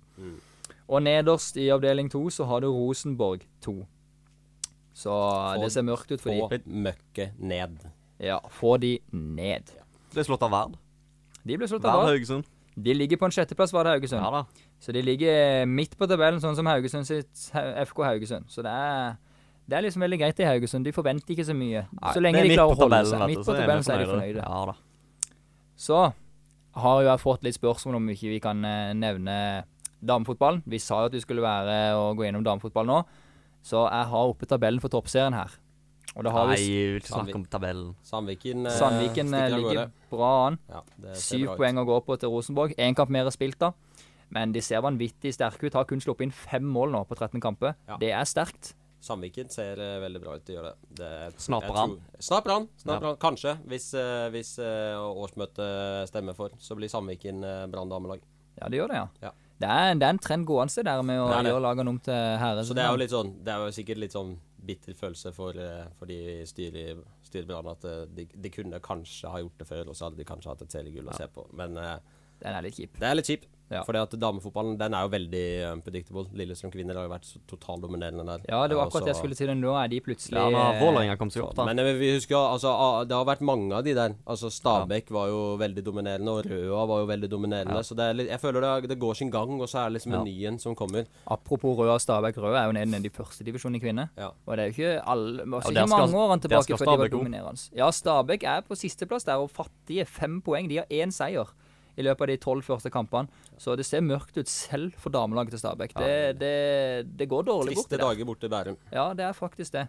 Speaker 4: Og nederst i avdeling to så har du Rosenborg 2. Så det ser mørkt ut for
Speaker 5: Få
Speaker 4: de.
Speaker 5: møkket ned.
Speaker 4: Ja, få de ned.
Speaker 6: Det er slått av Verd.
Speaker 4: De ble slått av
Speaker 6: Verd
Speaker 4: Vard.
Speaker 6: Haugesund.
Speaker 4: De ligger på en sjetteplass, var det Haugesund.
Speaker 6: Ja da.
Speaker 4: Så de ligger midt på tabellen, sånn som Haugesund sitt Hau- FK Haugesund. Så det er, det er liksom veldig greit i Haugesund. De forventer ikke så mye. så
Speaker 6: Nei,
Speaker 4: lenge
Speaker 6: det er
Speaker 4: de
Speaker 6: midt
Speaker 4: klarer
Speaker 6: på
Speaker 4: å holde
Speaker 6: tabellen,
Speaker 4: seg
Speaker 6: vet du,
Speaker 4: midt på tabellen, så er de fornøyde.
Speaker 6: Ja da.
Speaker 4: Så har jo jeg fått litt spørsmål om ikke vi kan eh, nevne damefotballen. Vi sa jo at vi skulle være og gå gjennom damefotball nå, så jeg har oppe tabellen for toppserien her. Og da har
Speaker 6: Nei,
Speaker 4: vi
Speaker 6: jeg vil ikke snakke om tabellen.
Speaker 5: Sandviken, eh,
Speaker 4: Sandviken
Speaker 5: stikker
Speaker 4: eh,
Speaker 5: av
Speaker 4: ligger
Speaker 5: gårde.
Speaker 4: bra an.
Speaker 5: Ja, det ser
Speaker 4: Syv
Speaker 5: Eh, bra ut.
Speaker 4: poeng å gå på til Rosenborg. Én kamp mer er spilt, da. Men de ser vanvittig sterke ut. Har kun sluppet inn fem mål nå på 13 kamper.
Speaker 5: Ja.
Speaker 4: Det er sterkt.
Speaker 5: Sandviken ser eh, veldig bra ut. De gjør det. det jeg
Speaker 6: Snapper
Speaker 5: tror-
Speaker 6: han.
Speaker 5: Snapper han, snapper han. Kanskje, hvis, eh, hvis eh, årsmøtet stemmer for, så blir Sandviken eh, Brann damelag.
Speaker 4: Ja, det gjør det, ja.
Speaker 5: Ja.
Speaker 4: Det, er, det er en trend gående det der med å
Speaker 5: Det er det.
Speaker 4: gjøre lagene om til herre.
Speaker 5: Så det er jo litt sånn Det er jo sikkert litt sånn bitter følelse for, eh, for de i styret i- styret i Brann at eh, de, de kunne kanskje ha gjort det før, og så hadde de kanskje hatt et seriegull å se på. Men eh,
Speaker 4: Den er litt kjip.
Speaker 5: det er litt kjipt.
Speaker 4: Ja.
Speaker 5: Fordi at damefotballen den er jo veldig unpredictable. Lillestrøm kvinner har jo vært så totaldominerende der.
Speaker 4: Ja, det var
Speaker 5: Eh,
Speaker 4: akkurat
Speaker 5: og så-
Speaker 4: det jeg skulle si. det. Nå er de plutselig
Speaker 6: Ja, nå har Vålerenga kommet seg opp, da.
Speaker 5: Men eh, vi husker, altså, ah, det har vært mange av de der. Altså, Stabæk var jo veldig dominerende, og Røa var jo veldig dominerende. Så det er litt, jeg føler det, er- det går sin gang, og så er det liksom en ny en som kommer.
Speaker 4: Apropos Røa og Stabæk. Røa er jo nede nede i førstedivisjon i kvinner.
Speaker 5: Ja.
Speaker 4: Og det er jo ikke alle altså,
Speaker 6: der
Speaker 4: Ikke
Speaker 6: skal-
Speaker 4: mange årene
Speaker 6: der
Speaker 4: tilbake
Speaker 6: skal
Speaker 4: før de var
Speaker 6: Stabæk opp.
Speaker 4: dominerende. Ja, Stabæk er på sisteplass der, og fattige fem poeng. De har én seier i løpet av de tolv første kampene. Så det ser mørkt ut selv for damelaget til Stabæk. Det, det, det går dårlig
Speaker 5: Triste
Speaker 4: borti der.
Speaker 5: dager borte i Bærum.
Speaker 4: Ja, det er faktisk det.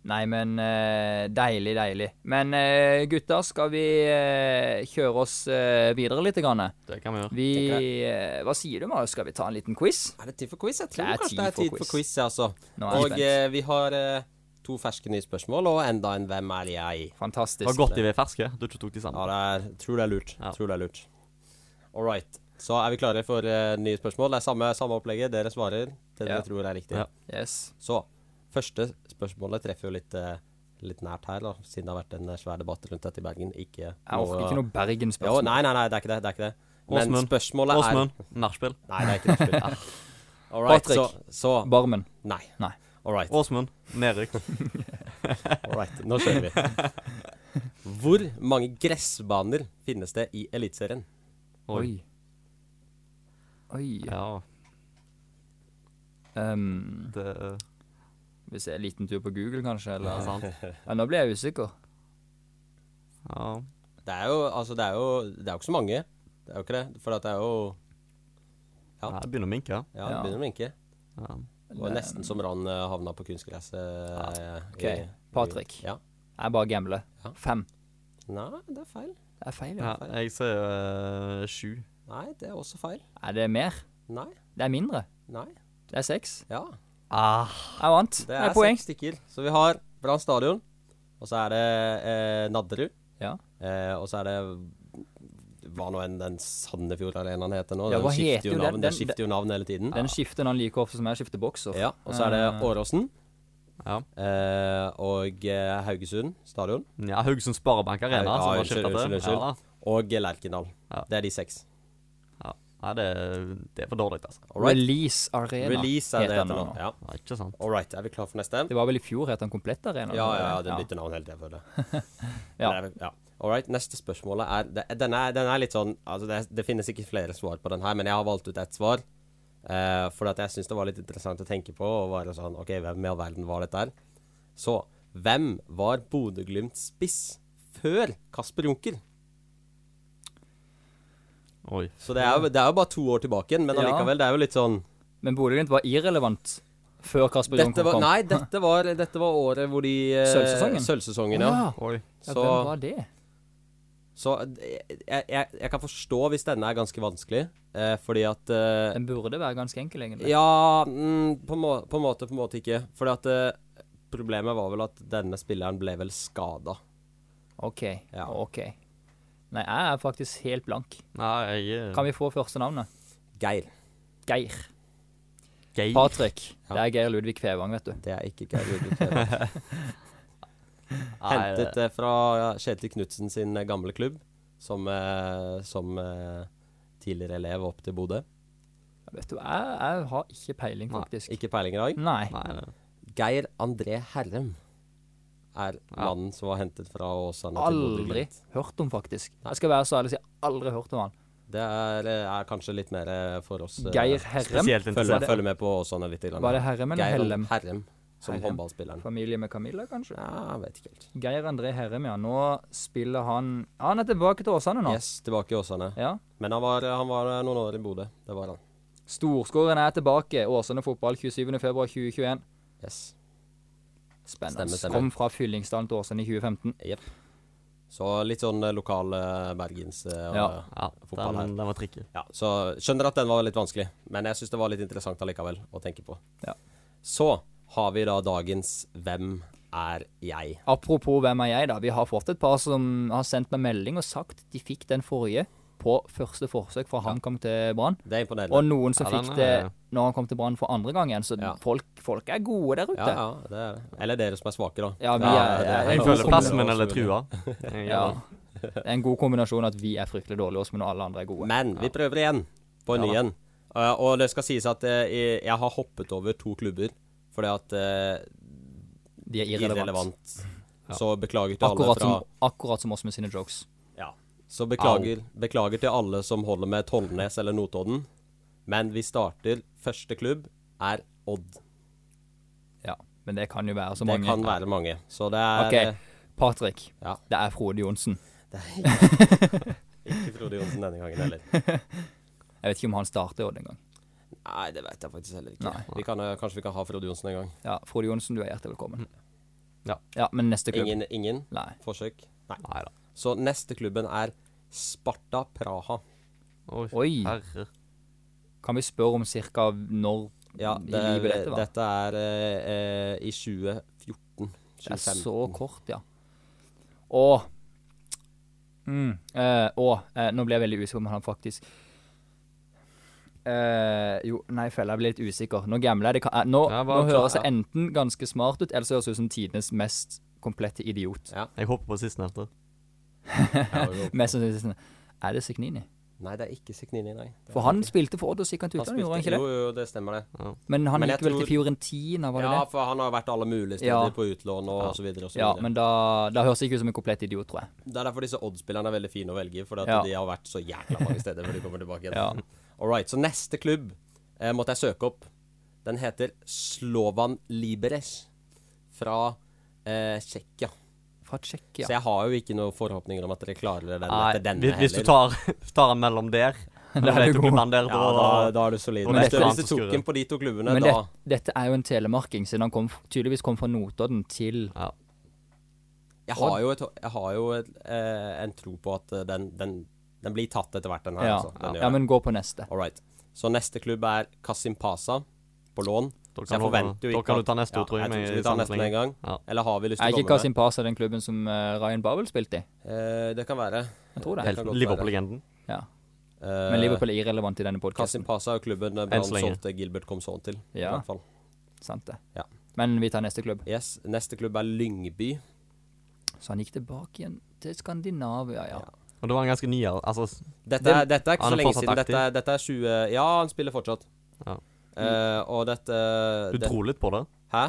Speaker 4: Nei, men eh, deilig, deilig. Men eh, gutter, skal vi eh, kjøre oss eh, videre litt? Grann?
Speaker 6: Det kan vi gjøre.
Speaker 4: Vi,
Speaker 5: Tenker
Speaker 4: eh, hva sier du, Marius? Skal vi ta en liten quiz?
Speaker 5: Er det tid for quiz? Jeg tror
Speaker 4: Det er
Speaker 5: kanskje det er
Speaker 4: tid for
Speaker 5: tid for quiz,
Speaker 4: quiz.
Speaker 5: ja, altså.
Speaker 4: Nå er jeg
Speaker 5: Og
Speaker 4: spent.
Speaker 5: eh, vi har eh, to ferske nye spørsmål, og enda en Hvem er jeg?
Speaker 4: Fantastisk.
Speaker 6: Det var godt de var ferske. Du ikke tok de
Speaker 5: Ja,
Speaker 6: sammen.
Speaker 5: det er, tror det er lurt.
Speaker 6: Ja.
Speaker 5: Tror det er lurt. All right. Så er vi klare for eh, nye spørsmål. Det er samme, samme opplegget. Dere svarer til
Speaker 4: Ja.
Speaker 5: dere tror er riktig.
Speaker 6: Ja.
Speaker 4: Yes.
Speaker 5: Så første spørsmålet treffer jo litt, eh, litt nært her, da, siden det har vært en eh, svær debatt rundt dette i Bergen. Ikke
Speaker 4: Jeg orker ikke noe
Speaker 5: jo,
Speaker 4: Bergen-spørsmål.
Speaker 5: Nei, nei, nei, det er ikke det. det, er ikke det. Men
Speaker 6: Åsmund.
Speaker 5: spørsmålet er
Speaker 6: Åsmund, nachspiel.
Speaker 5: Nei, det er ikke det. Spill. All right, så,
Speaker 4: Patrick.
Speaker 5: så
Speaker 4: Barmen.
Speaker 5: Nei.
Speaker 4: Nei.
Speaker 5: All right.
Speaker 6: Åsmund, nedrykk.
Speaker 5: all right. Nå kjører vi. Hvor mange gressbaner finnes det i Eliteserien?
Speaker 6: Oi.
Speaker 4: Oi. Oi.
Speaker 6: Ja,
Speaker 4: Ehm,
Speaker 6: det er
Speaker 4: hvis jeg er en liten tur på Google, kanskje? Eller?
Speaker 6: sant.
Speaker 4: Ja, nå ble jeg usikker.
Speaker 6: Ja.
Speaker 5: Det er jo altså, det er jo Det er jo ikke så mange. Det er jo ikke det. For at det er jo Ja.
Speaker 6: Nei, det begynner å minke.
Speaker 5: Ja, det
Speaker 4: Ja.
Speaker 5: begynner å minke.
Speaker 6: Ja.
Speaker 5: Det var nesten som Brann eh, havna på kunstgresset. eh, i-
Speaker 4: Ok, Patrick.
Speaker 5: Ja.
Speaker 4: Jeg bare gambler.
Speaker 5: Ja.
Speaker 4: Fem.
Speaker 5: Nei, det er feil.
Speaker 4: Det er feil, ja.
Speaker 6: Ja, jeg ser eh, sju.
Speaker 5: Nei, det er også feil.
Speaker 4: Er det mer?
Speaker 5: Nei.
Speaker 4: Det er mindre.
Speaker 5: Nei.
Speaker 4: Det er seks.
Speaker 5: Ja.
Speaker 6: Ah,
Speaker 4: Jeg vant.
Speaker 5: Det er
Speaker 4: poeng.
Speaker 5: seks stykker. Så vi har Brann stadion, og så er det eh, Nadderud,
Speaker 4: Ja.
Speaker 5: eh, og så er det hva nå enn den Sandefjord-arenaen heter nå.
Speaker 4: Ja,
Speaker 5: den
Speaker 4: hva
Speaker 5: skifter
Speaker 4: heter
Speaker 5: jo
Speaker 4: jo den?
Speaker 5: navn, den
Speaker 4: Den-
Speaker 5: skifter jo navn hele tiden.
Speaker 4: Den skifter han like ofte som jeg skifter bokser.
Speaker 5: Ja, og så er det
Speaker 4: Eh.
Speaker 5: Åråsen
Speaker 6: ja.
Speaker 5: eh, og eh, Haugesund stadion
Speaker 6: ja Haugesund Sparebank Arena.
Speaker 5: Ja,
Speaker 6: som har
Speaker 5: unnskyld,
Speaker 6: skiftet til.
Speaker 5: unnskyld, unnskyld.
Speaker 6: Ja,
Speaker 5: og eh, Lerkendal.
Speaker 6: Ja.
Speaker 5: Det er de seks.
Speaker 6: ja. Nei, det, det er for dårlig, altså.
Speaker 5: All right.
Speaker 4: Release Arena
Speaker 5: Release er det
Speaker 4: heter den
Speaker 5: heter nå.
Speaker 4: nå.
Speaker 5: Ja.
Speaker 6: Ja, ikke sant.
Speaker 5: All right, er vi klar for neste?
Speaker 4: Det var vel i fjor het han Komplett Arena?
Speaker 5: Ja, ja, ja, det bytter navn hele tida, føler jeg. Men
Speaker 4: Ja.
Speaker 5: det er vel- ja. All right, neste spørsmål er det- Den er, den er litt sånn altså det, er- det finnes ikke flere svar på den her, men jeg har valgt ut ett svar. Eh, for at jeg syns det var litt interessant å tenke på. Og bare sånn, ok, Hvem i all verden var dette her? Så hvem var Bodø-Glimts spiss før Kasper Junker?
Speaker 6: Oi.
Speaker 5: Så det er, jo, det er jo bare to år tilbake igjen, men
Speaker 4: Ja.
Speaker 5: allikevel, det er jo litt sånn
Speaker 4: Men Bodø-Glimt var irrelevant før Kasper
Speaker 5: dette
Speaker 4: Jonko
Speaker 5: var,
Speaker 4: kom.
Speaker 5: Nei, dette var, dette var året hvor de eh,
Speaker 4: Sølvsesongen?
Speaker 5: Sølvsesongen,
Speaker 4: Å,
Speaker 5: ja.
Speaker 4: ja.
Speaker 6: Oi.
Speaker 4: Ja,
Speaker 5: Så-
Speaker 4: hvem var det?
Speaker 5: Så eh, jeg, jeg, jeg kan forstå hvis denne er ganske vanskelig, eh, fordi at eh,
Speaker 4: Den burde være ganske enkel, egentlig.
Speaker 5: Ja, mm, på, må, på en måte, på en måte ikke. Fordi at eh, problemet var vel at denne spilleren ble vel skada.
Speaker 4: OK.
Speaker 5: Ja.
Speaker 4: OK. Nei, jeg er faktisk helt blank.
Speaker 6: Nei, jeg eh,
Speaker 4: Kan vi få første navnet?
Speaker 5: Geir.
Speaker 4: Geir.
Speaker 6: Geir.
Speaker 4: Patrick.
Speaker 5: Ja.
Speaker 4: Det er Geir Ludvig Fevang, vet du.
Speaker 5: Det er ikke Geir Ludvig Tvedt.
Speaker 6: Nei,
Speaker 5: Hentet det fra ja, Kjetil Knutsen sin eh, gamle klubb, som, eh, som eh, tidligere elev opp til Bodø.
Speaker 4: Vet du, jeg, jeg har ikke peiling,
Speaker 6: Nei,
Speaker 4: faktisk.
Speaker 5: Ikke peiling i dag.
Speaker 4: Nei.
Speaker 6: Nei, det-
Speaker 5: Geir André Herrem er
Speaker 6: Ja.
Speaker 5: mannen som var hentet fra Åsane til Bodø.
Speaker 4: Aldri
Speaker 5: Glimt.
Speaker 4: hørt om, faktisk. Jeg skal være så ærlig og si jeg har aldri hørt om han.
Speaker 5: Det er, er kanskje litt mer eh, for oss eh,
Speaker 4: Geir Herrem.
Speaker 6: Spesielt
Speaker 5: Følg med,
Speaker 6: interessant.
Speaker 5: følg med på Åsane litt. Grann.
Speaker 4: Var det Herrem eller
Speaker 5: Geir
Speaker 4: Hellem?
Speaker 5: Herrem, som
Speaker 4: Herrem.
Speaker 5: håndballspilleren.
Speaker 4: Familie med Camilla, kanskje?
Speaker 5: Ja, jeg vet ikke helt.
Speaker 4: Geir André Herrem, ja. Nå spiller han Han er tilbake til Åsane nå.
Speaker 5: Yes, tilbake i Åsane.
Speaker 4: Ja.
Speaker 5: Men han var, eh, han var noen år i Bodø. Det var han.
Speaker 4: Storskåren er tilbake. Åsane fotball 27.2.2021.
Speaker 5: Yes.
Speaker 4: Spennende.
Speaker 5: Stemmer, stemmer.
Speaker 4: Kom fra Fyllingsdalen til Åsane i 2015.
Speaker 5: Jepp. Så litt sånn eh, lokal eh, bergens eh, og-
Speaker 4: Ja.
Speaker 6: Ja,
Speaker 5: Fotball her.
Speaker 6: den, den var tricky.
Speaker 5: ja. Så skjønner at den var litt vanskelig, men jeg syns det var litt interessant allikevel å tenke på.
Speaker 4: Ja.
Speaker 5: Så har vi da dagens Hvem er jeg?
Speaker 4: Apropos hvem er jeg, da. Vi har fått et par som har sendt meg melding og sagt de fikk den forrige på første forsøk fra HamKam til Brann.
Speaker 5: Det er imponerende.
Speaker 4: Og noen som
Speaker 6: Ja, den
Speaker 4: fikk
Speaker 6: er-
Speaker 4: det når han kom til Brann for andre gang igjen. Så
Speaker 5: eh, Ja.
Speaker 4: folk, folk er gode der
Speaker 5: ja,
Speaker 4: ute.
Speaker 5: ja, det er det. Eller dere som er svake, da.
Speaker 4: Ja, vi
Speaker 5: Ja,
Speaker 4: er-
Speaker 5: det er-
Speaker 4: er-
Speaker 6: Jeg
Speaker 4: Ja,
Speaker 6: føler
Speaker 4: som-
Speaker 6: plassen min eller trua. Jeg-
Speaker 4: Ja. Det er en god kombinasjon at vi er fryktelig dårlige også, men alle andre er gode.
Speaker 5: Men vi prøver igjen på en ny en. Eh, og det skal sies at eh, jeg har hoppet over to klubber fordi at eh,
Speaker 4: De er
Speaker 5: irrelevant.
Speaker 4: irrelevant.
Speaker 5: Så beklager til alle
Speaker 4: Akkurat
Speaker 5: fra
Speaker 4: som, akkurat som oss med sine jokes.
Speaker 5: ja. Så beklager, beklager til alle som holder med Tollnes eller Notodden. Men vi starter. Første klubb er Odd.
Speaker 4: Ja, men det kan jo være så
Speaker 5: Det
Speaker 4: mange.
Speaker 5: kan være mange. Så det er
Speaker 4: Ok,
Speaker 5: eh,
Speaker 4: Patrick.
Speaker 5: Ja.
Speaker 4: Det er Frode Johnsen.
Speaker 5: ikke Frode Johnsen denne gangen heller.
Speaker 4: Jeg vet ikke om han starter i Odd engang.
Speaker 5: Nei, det vet jeg faktisk heller ikke.
Speaker 4: Nei.
Speaker 5: Vi kan, eh, kanskje vi kan ha Frode Johnsen en gang.
Speaker 4: Ja, Frode Johnsen, du er hjertelig velkommen.
Speaker 6: Ja.
Speaker 4: ja men neste klubb
Speaker 5: Ingen, ingen
Speaker 4: Nei.
Speaker 5: forsøk? Nei.
Speaker 6: Nei da.
Speaker 5: Så neste klubben er Sparta Praha.
Speaker 6: Oi.
Speaker 4: Oi.
Speaker 6: Herre.
Speaker 4: Kan vi spørre om ca. når
Speaker 5: Ja,
Speaker 4: Mm, i
Speaker 5: det,
Speaker 4: livet dette var?
Speaker 5: dette er eh, eh, i 2014.
Speaker 4: Det er
Speaker 5: 2015.
Speaker 4: så kort, ja. Og mm, eh, Og eh, Nå ble jeg veldig usikker på om han faktisk eh, Jo, nei, fella, jeg ble litt usikker. Nå gambler jeg. Det kan, eh, nå,
Speaker 6: Ja,
Speaker 4: nå
Speaker 6: bare-
Speaker 4: høres
Speaker 6: ja.
Speaker 4: jeg enten ganske smart ut, eller så høres jeg ut som tidenes mest komplette idiot.
Speaker 6: Jeg hopper på sistnevnte.
Speaker 5: Ja, jo.
Speaker 4: Mest sannsynlig sånn, Er det Signini?
Speaker 5: Nei, det er ikke Signini, nei. Det
Speaker 4: For
Speaker 5: er
Speaker 4: han
Speaker 5: ikke-
Speaker 4: spilte for Odd og så gikk han til
Speaker 5: Han
Speaker 4: utlandet, gjorde han
Speaker 5: spilte-
Speaker 4: ikke det?
Speaker 5: Jo, jo, det stemmer det.
Speaker 4: Men han
Speaker 5: Men jeg
Speaker 4: gikk vel
Speaker 5: tror-
Speaker 4: til Fiorentina, var det
Speaker 5: Ja,
Speaker 4: det?
Speaker 5: for han har vært alle mulige steder
Speaker 4: Ja.
Speaker 5: på utlån og, og så videre. Og så
Speaker 4: Ja,
Speaker 5: videre.
Speaker 4: men da, da høres jeg ikke ut som en komplett idiot, tror jeg.
Speaker 5: Det er derfor disse Odd-spillerne er veldig fine å velge, for at
Speaker 4: Ja.
Speaker 5: de har vært så jækla mange steder før de kommer tilbake igjen.
Speaker 4: Ja.
Speaker 5: All right, så neste klubb eh, måtte jeg søke opp. Den heter Slovan Liberec fra eh, Tsjekkia.
Speaker 4: Fra Tsjekkia.
Speaker 5: Så jeg har jo ikke noen forhåpninger om at dere klarer den
Speaker 6: Nei,
Speaker 5: etter denne
Speaker 6: hvis, hvis du
Speaker 5: heller.
Speaker 6: tar, tar den mellom der Da
Speaker 4: er
Speaker 6: vet
Speaker 4: du
Speaker 6: du hvem
Speaker 4: god.
Speaker 6: han der
Speaker 5: Ja,
Speaker 6: da,
Speaker 5: da, da er du solid.
Speaker 6: Og
Speaker 5: Men
Speaker 6: neste
Speaker 5: hvis du-
Speaker 6: mann
Speaker 5: hvis du
Speaker 6: som
Speaker 5: tok
Speaker 6: skrur.
Speaker 5: den på de to klubbene,
Speaker 4: Men det,
Speaker 5: da
Speaker 4: dette er jo en telemarking, siden han kom, tydeligvis kom fra Notodden til
Speaker 5: Jeg har jo, et, jeg har jo et, eh, en tro på at eh, den, den, den blir tatt etter hvert, den her.
Speaker 4: Ja,
Speaker 5: altså. Den gjør
Speaker 4: ja,
Speaker 5: det.
Speaker 4: men gå på neste.
Speaker 5: All right. Så neste klubb er Kasimpasa på lån.
Speaker 6: Da
Speaker 5: Så jeg
Speaker 6: kan, du,
Speaker 5: forventer jo
Speaker 6: da
Speaker 5: ikke
Speaker 6: kan
Speaker 5: at-
Speaker 6: du ta neste
Speaker 5: Ja,
Speaker 6: ord, tror jeg.
Speaker 5: jeg
Speaker 6: med
Speaker 5: tror vi tar nesten
Speaker 6: sammenslenge.
Speaker 5: en gang.
Speaker 6: Ja.
Speaker 5: Eller har vi lyst
Speaker 4: Er
Speaker 5: til å
Speaker 4: ikke
Speaker 5: komme med?
Speaker 4: Kasimpasa den klubben som eh, Ryan Babel spilte i?
Speaker 5: Eh, det kan være.
Speaker 4: Jeg tror det.
Speaker 5: Helt- kan godt være.
Speaker 6: Liverpool-legenden.
Speaker 4: Ja.
Speaker 5: Eh,
Speaker 4: Men Liverpool er irrelevant i denne podkasten.
Speaker 5: Kasimpasa er jo klubben eh, Brann
Speaker 6: så lenge.
Speaker 5: solgte Gilbert kom sånn til. I
Speaker 4: Ja.
Speaker 5: hvert fall.
Speaker 4: Sant det.
Speaker 5: Ja.
Speaker 4: Men vi tar neste klubb.
Speaker 5: Yes. Neste klubb er Lyngby.
Speaker 4: Så han gikk tilbake igjen til Skandinavia, ja.
Speaker 6: Og det var en ganske nyere altså, s-
Speaker 5: Dette
Speaker 6: Den-
Speaker 5: er, dette er ikke
Speaker 6: han
Speaker 5: så
Speaker 6: er
Speaker 5: lenge
Speaker 6: fortsatt
Speaker 5: siden.
Speaker 6: aktiv.
Speaker 5: Dette er, dette er 20 Ja, han spiller fortsatt.
Speaker 6: Ja.
Speaker 5: Eh, og dette
Speaker 6: Du
Speaker 5: det-
Speaker 6: dro litt på det.
Speaker 5: Hæ?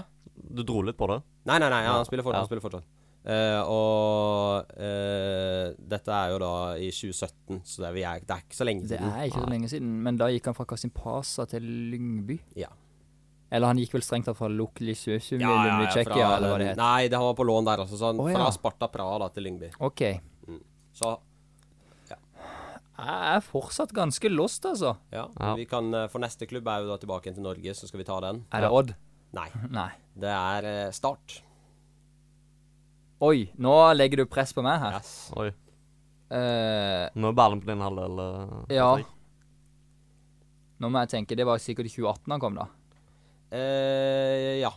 Speaker 6: Du dro litt på det.
Speaker 5: Nei, nei, nei, ja,
Speaker 6: Ja,
Speaker 5: han spiller fortsatt.
Speaker 6: ja.
Speaker 5: Han spiller fortsatt. Eh, og eh, dette er jo da i 2017, så det er, vi er, det er ikke så lenge
Speaker 4: Det
Speaker 5: siden.
Speaker 4: er ikke så lenge siden, men da gikk han fra Kasimpasa til Lyngby.
Speaker 5: Ja.
Speaker 4: Eller han gikk vel strengt tatt fra Luklisøsum i
Speaker 5: Ja, ja, ja, fra
Speaker 4: Tsjekkia, eller hva det
Speaker 5: den-
Speaker 4: het.
Speaker 5: Nei, det han var på lån der også, så han,
Speaker 4: Å, ja.
Speaker 5: fra Sparta Praha da til Lyngby.
Speaker 4: OK.
Speaker 5: Så
Speaker 4: Jeg er fortsatt ganske lost, altså.
Speaker 5: ja,
Speaker 6: Ja.
Speaker 5: vi kan eh, For neste klubb er jo da tilbake igjen til Norge, så skal vi ta den.
Speaker 4: Er det Odd?
Speaker 5: Nei.
Speaker 4: Nei.
Speaker 5: Det er eh, Start.
Speaker 4: Oi, nå legger du press på meg her.
Speaker 5: Yes.
Speaker 6: Oi.
Speaker 4: Eh,
Speaker 6: Nå er ballen på din halvdel. eh,
Speaker 4: ja.
Speaker 6: Patrick.
Speaker 4: Nå må jeg tenke, det var sikkert i 2018 han kom, da.
Speaker 5: Eh, ja.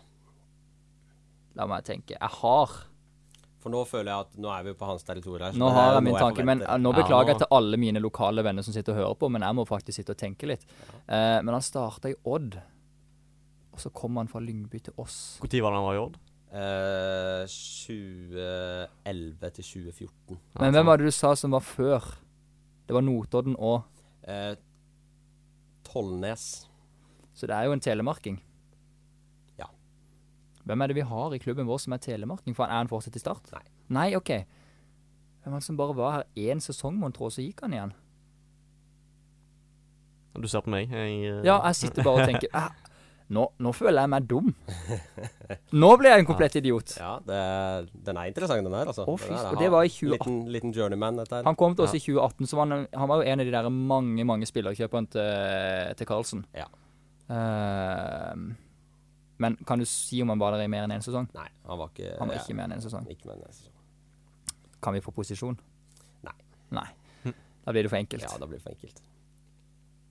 Speaker 4: La meg tenke. Jeg har
Speaker 5: For nå føler jeg at nå er vi jo på hans territorium. her, så
Speaker 4: Nå
Speaker 5: det er
Speaker 4: har
Speaker 5: jo
Speaker 4: jeg min
Speaker 5: noe
Speaker 4: tanke, men
Speaker 5: forventer.
Speaker 4: eh, nå
Speaker 6: Ja,
Speaker 4: beklager
Speaker 6: nå-
Speaker 4: jeg til alle mine lokale venner som sitter og hører på, men jeg må faktisk sitte og tenke litt. Eh, men han starta i Odd, og så kom han fra Lyngby til oss.
Speaker 6: Hvor tid var det han var i Odd?
Speaker 5: Eh, 2011 til 2014.
Speaker 4: Men hvem var det du sa som var før? Det var Notodden og
Speaker 5: Eh, Tollnes.
Speaker 4: Så det er jo en telemarking.
Speaker 5: Ja.
Speaker 4: Hvem er det vi har i klubben vår som er telemarking? For han er han fortsatt i start?
Speaker 5: Nei.
Speaker 4: Nei, OK. Hvem var det som bare var her én sesong, mon tro, så gikk han igjen?
Speaker 6: Du ser på meg. Jeg, eh,
Speaker 4: Ja, jeg sitter bare og tenker "Ah, nå, nå føler jeg meg dum. Nå ble jeg en komplett idiot.
Speaker 5: Ja, det, er- den er interessant, den her. Altså.
Speaker 4: Å, fy
Speaker 5: Den her
Speaker 4: søren.
Speaker 5: er-
Speaker 4: Det var i 2018.
Speaker 5: Liten, liten journeyman, dette her.
Speaker 4: Han kom til oss i 2018, så var han, han var jo en av de der mange mange spillerkjøperne til, til Carlsen.
Speaker 5: Ja.
Speaker 4: Eh, men kan du si om han var der i mer enn én sesong?
Speaker 5: Nei, han var ikke
Speaker 4: Han var
Speaker 5: ja,
Speaker 4: ikke mer enn én sesong.
Speaker 5: ikke med altså. neste sesong.
Speaker 4: Kan vi få posisjon?
Speaker 5: Nei.
Speaker 4: Nei. Da blir det for enkelt.
Speaker 5: Ja,
Speaker 4: Ja,
Speaker 5: det blir for enkelt.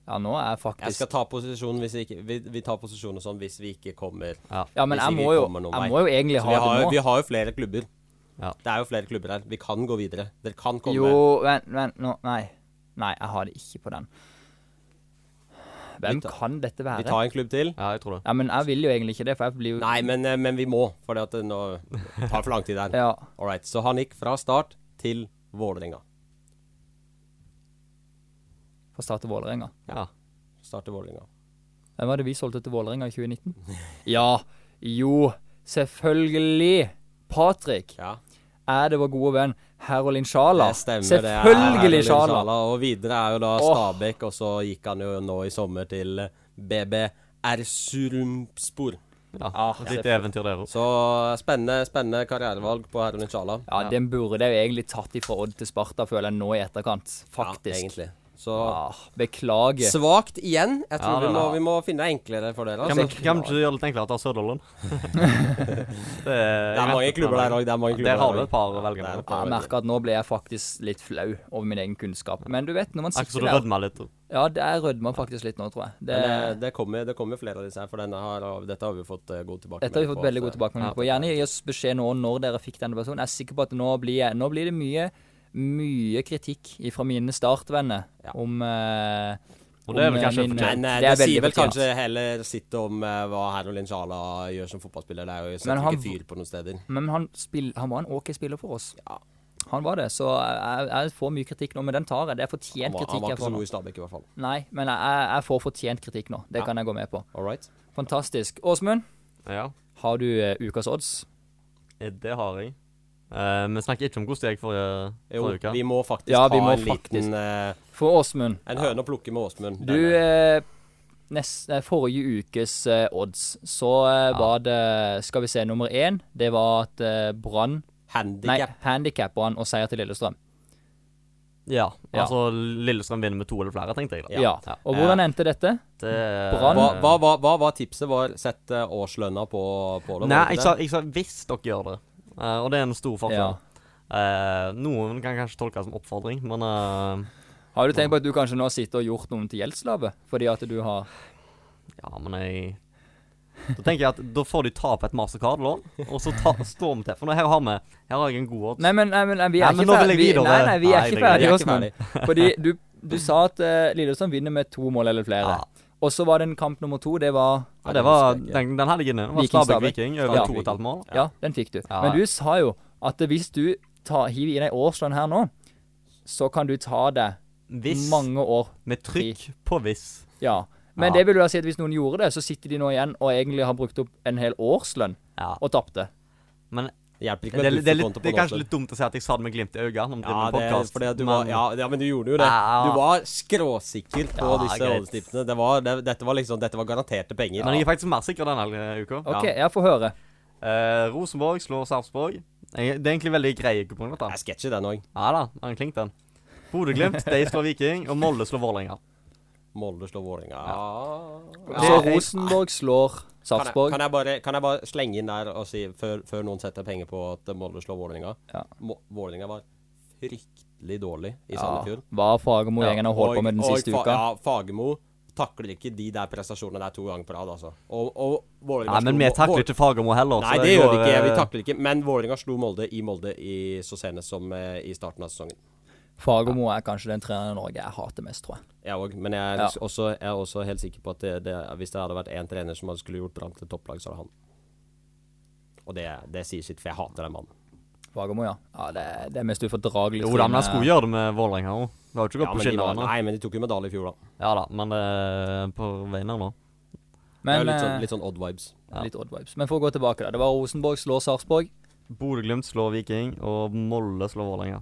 Speaker 4: nå er jeg
Speaker 5: Jeg
Speaker 4: faktisk
Speaker 5: skal ta posisjon hvis vi ikke Vi, vi tar posisjon og sånn hvis vi ikke kommer
Speaker 6: Ja.
Speaker 4: Ja, men
Speaker 5: hvis
Speaker 4: jeg
Speaker 5: ikke
Speaker 4: må
Speaker 5: vi
Speaker 4: jo,
Speaker 5: kommer noen
Speaker 4: jeg
Speaker 5: vei.
Speaker 4: må jo egentlig
Speaker 5: Så
Speaker 4: ha
Speaker 5: vi har, jo-
Speaker 4: det nå.
Speaker 5: vi har jo flere klubber.
Speaker 6: Ja.
Speaker 5: Det er jo flere klubber her. Vi kan gå videre. Dere kan komme.
Speaker 4: Jo, vent, vent nå. Nei. Nei, jeg har det ikke på den. Hvem
Speaker 5: Vi tar-
Speaker 4: kan dette
Speaker 5: Vi
Speaker 4: være?
Speaker 5: tar en klubb til.
Speaker 6: ja, jeg tror det.
Speaker 4: Ja, men jeg vil jo egentlig ikke det, for jeg blir jo
Speaker 5: Nei, men, eh, men vi må, for det at det nå det tar for lang tid her.
Speaker 4: Ja.
Speaker 5: All right, så han gikk fra start til Vålerenga.
Speaker 4: Fra start til Vålerenga.
Speaker 6: Ja.
Speaker 5: Start til Vålerenga.
Speaker 4: Hvem var det vi solgte til Vålerenga i 2019? Ja, jo, selvfølgelig. Patrick
Speaker 5: Ja,
Speaker 4: er det vår gode venn Herolin Sjala.
Speaker 5: det stemmer. det er
Speaker 4: Selvfølgelig
Speaker 5: Erling
Speaker 4: Sjala.
Speaker 5: Og videre er jo da
Speaker 4: Åh.
Speaker 5: Stabæk, og så gikk han jo nå i sommer til eh, BB Ersurumspor.
Speaker 6: ja.
Speaker 4: Ah,
Speaker 6: Et lite eventyr der òg.
Speaker 5: Så eh, spennende, spennende karrierevalg på Herolin Sjala.
Speaker 4: Ja, den burde jeg jo egentlig tatt ifra Odd til Sparta, føler jeg nå i etterkant.
Speaker 5: Ja,
Speaker 4: Faktisk.
Speaker 5: egentlig. Så
Speaker 4: ah, beklager.
Speaker 5: svakt igjen. Jeg tror
Speaker 6: Ja,
Speaker 5: vi,
Speaker 6: det er
Speaker 5: må,
Speaker 6: det.
Speaker 5: vi må finne det enklere for dere.
Speaker 6: Kan
Speaker 5: Altså.
Speaker 6: vi kan vi ikke gjøre det litt enklere å ta Søderlund? det,
Speaker 5: Det er mange klubber der òg. Der
Speaker 6: Der har du et par å velge
Speaker 5: Det er et
Speaker 6: mellom.
Speaker 5: par.
Speaker 4: Jeg merker at nå ble jeg faktisk litt flau over min egen kunnskap. Men du vet, når man
Speaker 6: Akkurat som
Speaker 4: sitter
Speaker 6: du
Speaker 4: der
Speaker 6: rødmer litt.
Speaker 4: Ja, der rødmer man faktisk litt nå, tror jeg. Det,
Speaker 5: Men det, det, kommer, det kommer flere av disse her, for denne har, dette har vi fått eh, god tilbakemelding
Speaker 4: dette har vi fått
Speaker 5: på, eh,
Speaker 4: veldig
Speaker 5: så-
Speaker 4: god tilbakemelding
Speaker 6: ja.
Speaker 4: på. Gjerne gi oss beskjed nå når dere fikk denne personen. Jeg er sikker på at nå blir, jeg, nå blir det mye, mye kritikk fra mine startvenner
Speaker 5: Ja.
Speaker 4: om eh,
Speaker 6: Og det er
Speaker 4: om,
Speaker 6: vel
Speaker 4: eh,
Speaker 6: kanskje
Speaker 4: min-
Speaker 6: fortjent.
Speaker 5: Men eh,
Speaker 4: Det
Speaker 5: det,
Speaker 4: er veldig
Speaker 5: sier vel
Speaker 4: fortjent.
Speaker 5: kanskje heller sitt om eh, hva Herolin Sjala gjør som fotballspiller. Det er jo
Speaker 4: Men
Speaker 5: setter
Speaker 4: han-
Speaker 5: ikke fyr på noen steder.
Speaker 4: Men han, spill, han var en OK spiller for oss.
Speaker 5: Ja.
Speaker 4: Han var det, så jeg, jeg får mye kritikk nå, men den tar jeg. Det er
Speaker 5: Han
Speaker 4: fortjent
Speaker 5: var, han
Speaker 4: kritikk
Speaker 5: var
Speaker 4: jeg
Speaker 5: ikke så
Speaker 4: får nå.
Speaker 5: god i Stabæk, i hvert fall.
Speaker 4: Nei, men jeg, jeg- jeg får fortjent kritikk nå. Det
Speaker 5: Ja.
Speaker 4: kan jeg gå med på.
Speaker 5: All right.
Speaker 4: Fantastisk. Åsmund,
Speaker 6: Ja,
Speaker 4: har du eh, ukas odds?
Speaker 6: eh, det har jeg. Eh, vi snakker ikke om hvordan det gikk forrige,
Speaker 5: Jo,
Speaker 6: forrige uke.
Speaker 5: vi må faktisk
Speaker 4: Ja, vi må
Speaker 5: ha en
Speaker 4: faktisk.
Speaker 5: liten eh,
Speaker 4: For Åsmund,
Speaker 5: En høne å plukke med Åsmund.
Speaker 4: du
Speaker 5: Denne.
Speaker 4: eh, nest, eh, Forrige ukes eh, odds, så eh, var det Skal vi se, nummer én, det var at eh, Brann Nei,
Speaker 5: Handicap.
Speaker 4: handikap Brann og seier til Lillestrøm.
Speaker 6: Ja,
Speaker 4: Ja.
Speaker 6: altså Lillestrøm vinner med to eller flere, tenkte jeg. da.
Speaker 4: Ja. Og hvordan endte dette?
Speaker 6: Det,
Speaker 4: Brann-
Speaker 5: Hva, hva, hva, hva var tipset? Var Sett eh, årslønna på, på det? var
Speaker 6: Nei,
Speaker 5: det
Speaker 6: jeg
Speaker 5: ikke
Speaker 6: sa,
Speaker 5: det?
Speaker 6: jeg sa hvis dere gjør det. Eh, og det er en stor
Speaker 4: Ja.
Speaker 6: forskjell. Eh, noen kan kanskje tolkes som oppfordring, men eh,
Speaker 4: Har du tenkt på at du kanskje nå sitter og gjort noen til gjeldsslave? Fordi at du har
Speaker 6: Ja, men jeg Da tenker jeg at da får de ta opp et mastercard-lån, og så ta, står vi til. For nå her har vi Her har jeg en god odds.
Speaker 4: Nei, men, nei, men nei, vi er
Speaker 6: Nei, men
Speaker 4: ikke
Speaker 6: nå vil
Speaker 4: ferdige.
Speaker 6: jeg
Speaker 4: Vi,
Speaker 6: videre.
Speaker 4: nei, nei, vi er
Speaker 6: Nei,
Speaker 4: ikke
Speaker 6: jeg
Speaker 4: ferdige
Speaker 5: er
Speaker 4: hos
Speaker 5: ikke
Speaker 4: meg. Fordi du, du sa at eh, Lillesand vinner med to mål eller flere.
Speaker 6: Ja.
Speaker 4: Og så var det en kamp nummer to. Det var
Speaker 6: Ja, det var den, den hadde jeg inne. Det var
Speaker 4: Viking,
Speaker 6: Stabæk
Speaker 4: Stabæk.
Speaker 6: Viking over
Speaker 4: Ja.
Speaker 6: to og et halvt mål.
Speaker 4: Ja, den fikk du.
Speaker 6: Ja.
Speaker 4: Men du sa jo at hvis du tar, hiver i deg årslønn her nå, så kan du ta deg
Speaker 6: Hvis
Speaker 4: mange år.
Speaker 6: Med trykk på hvis.
Speaker 4: Ja. Men
Speaker 6: Ja.
Speaker 4: det vil jo da si at hvis noen gjorde det, så sitter de nå igjen og egentlig har brukt opp en hel årslønn
Speaker 6: Ja.
Speaker 4: og tapte.
Speaker 6: Men
Speaker 5: Det hjelper ikke
Speaker 6: det,
Speaker 5: med
Speaker 6: er litt- det, er, litt,
Speaker 5: bufferkonto på
Speaker 6: det er kanskje
Speaker 5: Northern.
Speaker 6: litt dumt å si at jeg sa det med glimt i øynene når vi
Speaker 5: ja,
Speaker 6: driver med
Speaker 5: det, er
Speaker 6: podkast.
Speaker 5: fordi at du var, ja, ja, men du gjorde jo det.
Speaker 6: Ja.
Speaker 5: Du var skråsikker på
Speaker 6: Ja,
Speaker 5: disse
Speaker 6: greit.
Speaker 5: oddstipsene. Det var, det, dette var liksom Dette var garanterte penger.
Speaker 6: Men jeg er faktisk mer sikker denne eh, uka.
Speaker 4: OK, jeg får høre.
Speaker 6: Eh, Rosenborg slår Sarpsborg. Jeg- Det er egentlig veldig grei kupong, dette.
Speaker 5: Det er sketsjy, den òg.
Speaker 6: Ja da, han klink den. Bodø-Glimt, de slår Viking, og Molde slår Vålerenga.
Speaker 5: Molde slår Vålerenga. Ja.
Speaker 4: Så
Speaker 6: jeg-
Speaker 4: Rosenborg slår
Speaker 5: Kan jeg, kan,
Speaker 4: Sarpsborg.
Speaker 5: jeg bare, kan jeg bare slenge inn der og si, før, før noen setter penger på at Molde slår Vålerenga
Speaker 4: Ja.
Speaker 5: Mo- Vålerenga var fryktelig dårlig i
Speaker 4: Ja,
Speaker 5: Sandefjord.
Speaker 4: hva Fagermo-gjengen har holdt på med den
Speaker 5: og
Speaker 4: siste
Speaker 5: Fa-
Speaker 4: uka.
Speaker 5: Ja, Fagermo takler ikke de der prestasjonene der to ganger på rad, altså. Og, og Vålerenga
Speaker 6: Nei, men vi
Speaker 5: Mo- Vå-
Speaker 6: takler ikke Fagermo heller. så
Speaker 5: Nei, det gjør vi
Speaker 6: går,
Speaker 5: ikke. Vi
Speaker 6: eh,
Speaker 5: takler ikke. Men Vålerenga slo Molde i Molde i så senest som eh, i starten av sesongen.
Speaker 4: Fagermo er kanskje den treneren i Norge jeg hater mest, tror jeg.
Speaker 5: Jeg òg. Men jeg er,
Speaker 4: Ja.
Speaker 5: også, jeg er også helt sikker på at det, det, hvis det hadde vært én trener som hadde skulle gjort Brann til topplag, så er det han. Og det, det sier sitt, for jeg hater den mannen.
Speaker 4: Fagermo, ja. ja det, det er mest ufordragelig.
Speaker 6: Jo da, men
Speaker 4: tryne.
Speaker 6: jeg skulle gjøre det med Vålerenga òg. Det har jo ikke gått
Speaker 5: Ja,
Speaker 6: på
Speaker 5: men de
Speaker 6: skinner
Speaker 5: var,
Speaker 6: ennå.
Speaker 5: nei, men de tok jo medalje i fjor, da.
Speaker 6: Ja da, men det er på veien her nå.
Speaker 5: Det er
Speaker 4: Men,
Speaker 5: jo litt sånn,
Speaker 4: eh,
Speaker 5: litt sånn odd vibes.
Speaker 6: ja.
Speaker 4: litt odd vibes. Men for å gå tilbake, da. Det var Rosenborg slår Sarpsborg,
Speaker 6: Bodø-Glimt slår Viking, og Molde slår Vålerenga.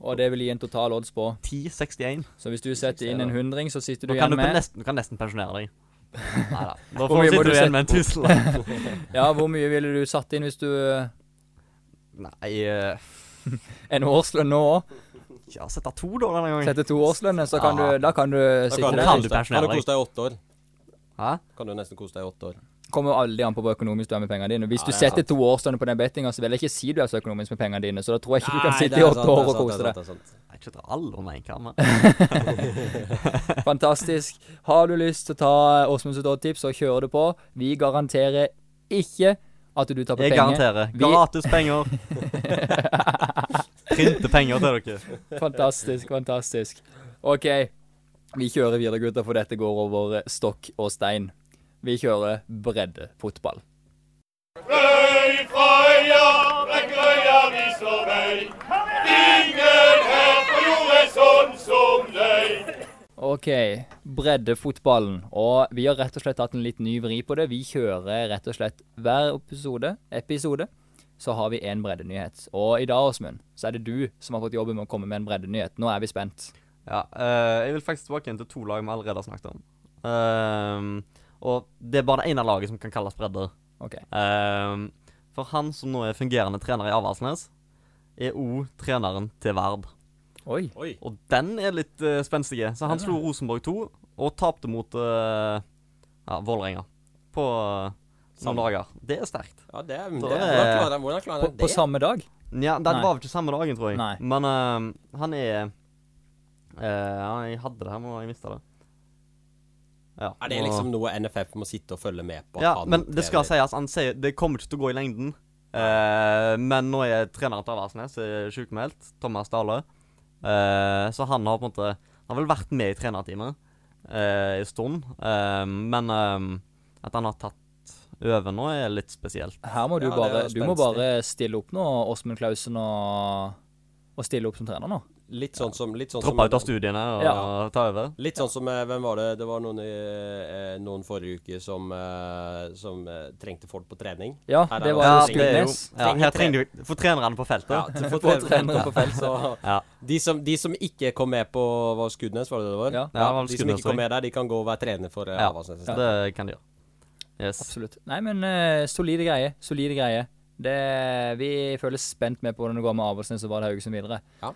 Speaker 4: og det vil gi en total odds på.
Speaker 6: 10-61.
Speaker 4: Så hvis du setter inn en hundring, så sitter du
Speaker 6: Nå kan
Speaker 4: igjen
Speaker 6: du, på
Speaker 4: med
Speaker 6: nesten, du kan nesten pensjonere deg. Nei da. Da
Speaker 4: Hvor
Speaker 6: får
Speaker 4: mye
Speaker 6: du
Speaker 4: må du
Speaker 6: sitte
Speaker 4: sette
Speaker 6: igjen med en tusenlapp.
Speaker 4: Ja, hvor mye ville du satt inn hvis du eh,
Speaker 6: Nei eh,
Speaker 4: En årslønn nå òg?
Speaker 6: Ja, sette to, da, denne gangen.
Speaker 4: Setter to årslønner, så kan du
Speaker 6: Ja.
Speaker 4: Da kan du sitte
Speaker 5: kan
Speaker 4: der.
Speaker 6: kan du
Speaker 5: kose deg-
Speaker 6: pensjonere
Speaker 5: kan du kose deg i åtte år.
Speaker 6: Hæ?
Speaker 5: Kan du nesten kose deg i åtte år.
Speaker 4: Kommer jo aldri an på hvor økonomisk du er med pengene dine. Hvis du setter to årslønner på den bettinga, så vil jeg ikke si du er så økonomisk med pengene dine, så da tror jeg ikke du kan
Speaker 5: Nei, det
Speaker 4: sitte
Speaker 5: er
Speaker 4: i åtte
Speaker 5: sant, det er
Speaker 4: år og
Speaker 5: sant, det
Speaker 4: kose
Speaker 5: er
Speaker 4: deg.
Speaker 5: sant, det er sant.
Speaker 6: Nei, ikke dra alle over én kam. men-
Speaker 4: Fantastisk. Har du lyst til å ta eh, Åsmund sitt oddtips, så kjører du på. Vi garanterer ikke at du taper
Speaker 6: Jeg
Speaker 4: penger.
Speaker 6: garanterer.
Speaker 4: Vi-
Speaker 6: Gratis penger. Printe penger til dere.
Speaker 4: Fantastisk, fantastisk. OK, vi kjører videre, gutter, for dette går over eh, stokk og stein. Vi kjører breddefotball.
Speaker 3: Røy fra øya, vekk øya vi slår vei. Ingen her på jord er sånn som deg.
Speaker 4: OK, breddefotballen. Og vi har rett og slett hatt en litt ny vri på det. Vi kjører rett og slett hver episode, episode så har vi en breddenyhet. Og i dag, Åsmund, så er det du som har fått jobben med å komme med en breddenyhet. Nå er vi spent.
Speaker 6: Ja, eh, jeg vil faktisk tilbake igjen til to lag vi allerede har snakket om. Ehm, og det er bare det ene laget som kan kalles bredder.
Speaker 4: OK.
Speaker 6: Ehm, for han som nå er fungerende trener i Avaldsnes, er òg treneren til Verd.
Speaker 4: Oi.
Speaker 5: Oi.
Speaker 6: Og den er litt uh, spenstig. Så han slo Rosenborg 2 og tapte mot eh, ja, Vålerenga på eh,
Speaker 5: Samme.
Speaker 6: noen dager. Det er sterkt.
Speaker 5: Ja, det, er- det,
Speaker 6: Da
Speaker 5: hvordan
Speaker 6: er-
Speaker 5: klarer han- hvordan klarer
Speaker 4: På,
Speaker 5: han
Speaker 4: på
Speaker 5: det?
Speaker 4: samme dag?
Speaker 6: Ja, den
Speaker 4: Nei.
Speaker 6: var vel ikke samme dagen, tror jeg.
Speaker 4: Nei.
Speaker 6: Men eh, han er eh, ja, Jeg hadde det her, men jeg mista det. Ja,
Speaker 5: Er det
Speaker 6: nå-
Speaker 5: liksom noe NFF må sitte og følge med på? at
Speaker 6: Ja,
Speaker 5: han
Speaker 6: men det skal
Speaker 5: trener?
Speaker 6: sies. Han sier det kommer ikke til å gå i lengden. Eh, men nå er treneren til Aversnes sjukmeldt. Thomas Dale. Eh, så han har på en måte Han har vel vært med i trenerteamet eh, en stund. Eh, men eh, at han har tatt over nå, er litt spesielt.
Speaker 4: Her må du,
Speaker 5: Ja, det
Speaker 4: bare,
Speaker 5: er
Speaker 4: du
Speaker 5: spenstig.
Speaker 4: må bare stille opp nå, Åsmund Klausen, og, og stille opp som trener nå.
Speaker 5: Litt sånn som litt sånn
Speaker 6: Droppe
Speaker 5: som-
Speaker 6: ut av studiene og
Speaker 4: Ja.
Speaker 6: ta over.
Speaker 5: Litt sånn som eh, Hvem var det? Det var noen, i, eh, noen forrige uke som, eh, som eh, trengte folk på trening.
Speaker 4: Ja,
Speaker 5: Her er
Speaker 4: det
Speaker 5: det
Speaker 4: var jo
Speaker 5: også-
Speaker 6: det er
Speaker 4: Skudenes.
Speaker 6: jo- ja, her trenger du Få trenerne på feltet.
Speaker 5: Ja, til- for
Speaker 4: På
Speaker 5: tre-
Speaker 4: trenere.
Speaker 5: på felt, så
Speaker 6: Ja.
Speaker 5: de, som, de som ikke kom med på var det Skudenes, var det det det var?
Speaker 4: Ja.
Speaker 6: Ja, det var
Speaker 5: de som ikke
Speaker 6: Skudenes,
Speaker 5: kom med der, de kan gå og være trener for eh,
Speaker 6: Ja.
Speaker 5: Avaldsnes.
Speaker 6: Så det kan de gjøre. Yes.
Speaker 4: Absolutt. Nei, men eh, solide greier. Solide greier. Det, vi føler spent med på hvordan det går med Avaldsnes og Vard Haugesund videre.
Speaker 5: Ja.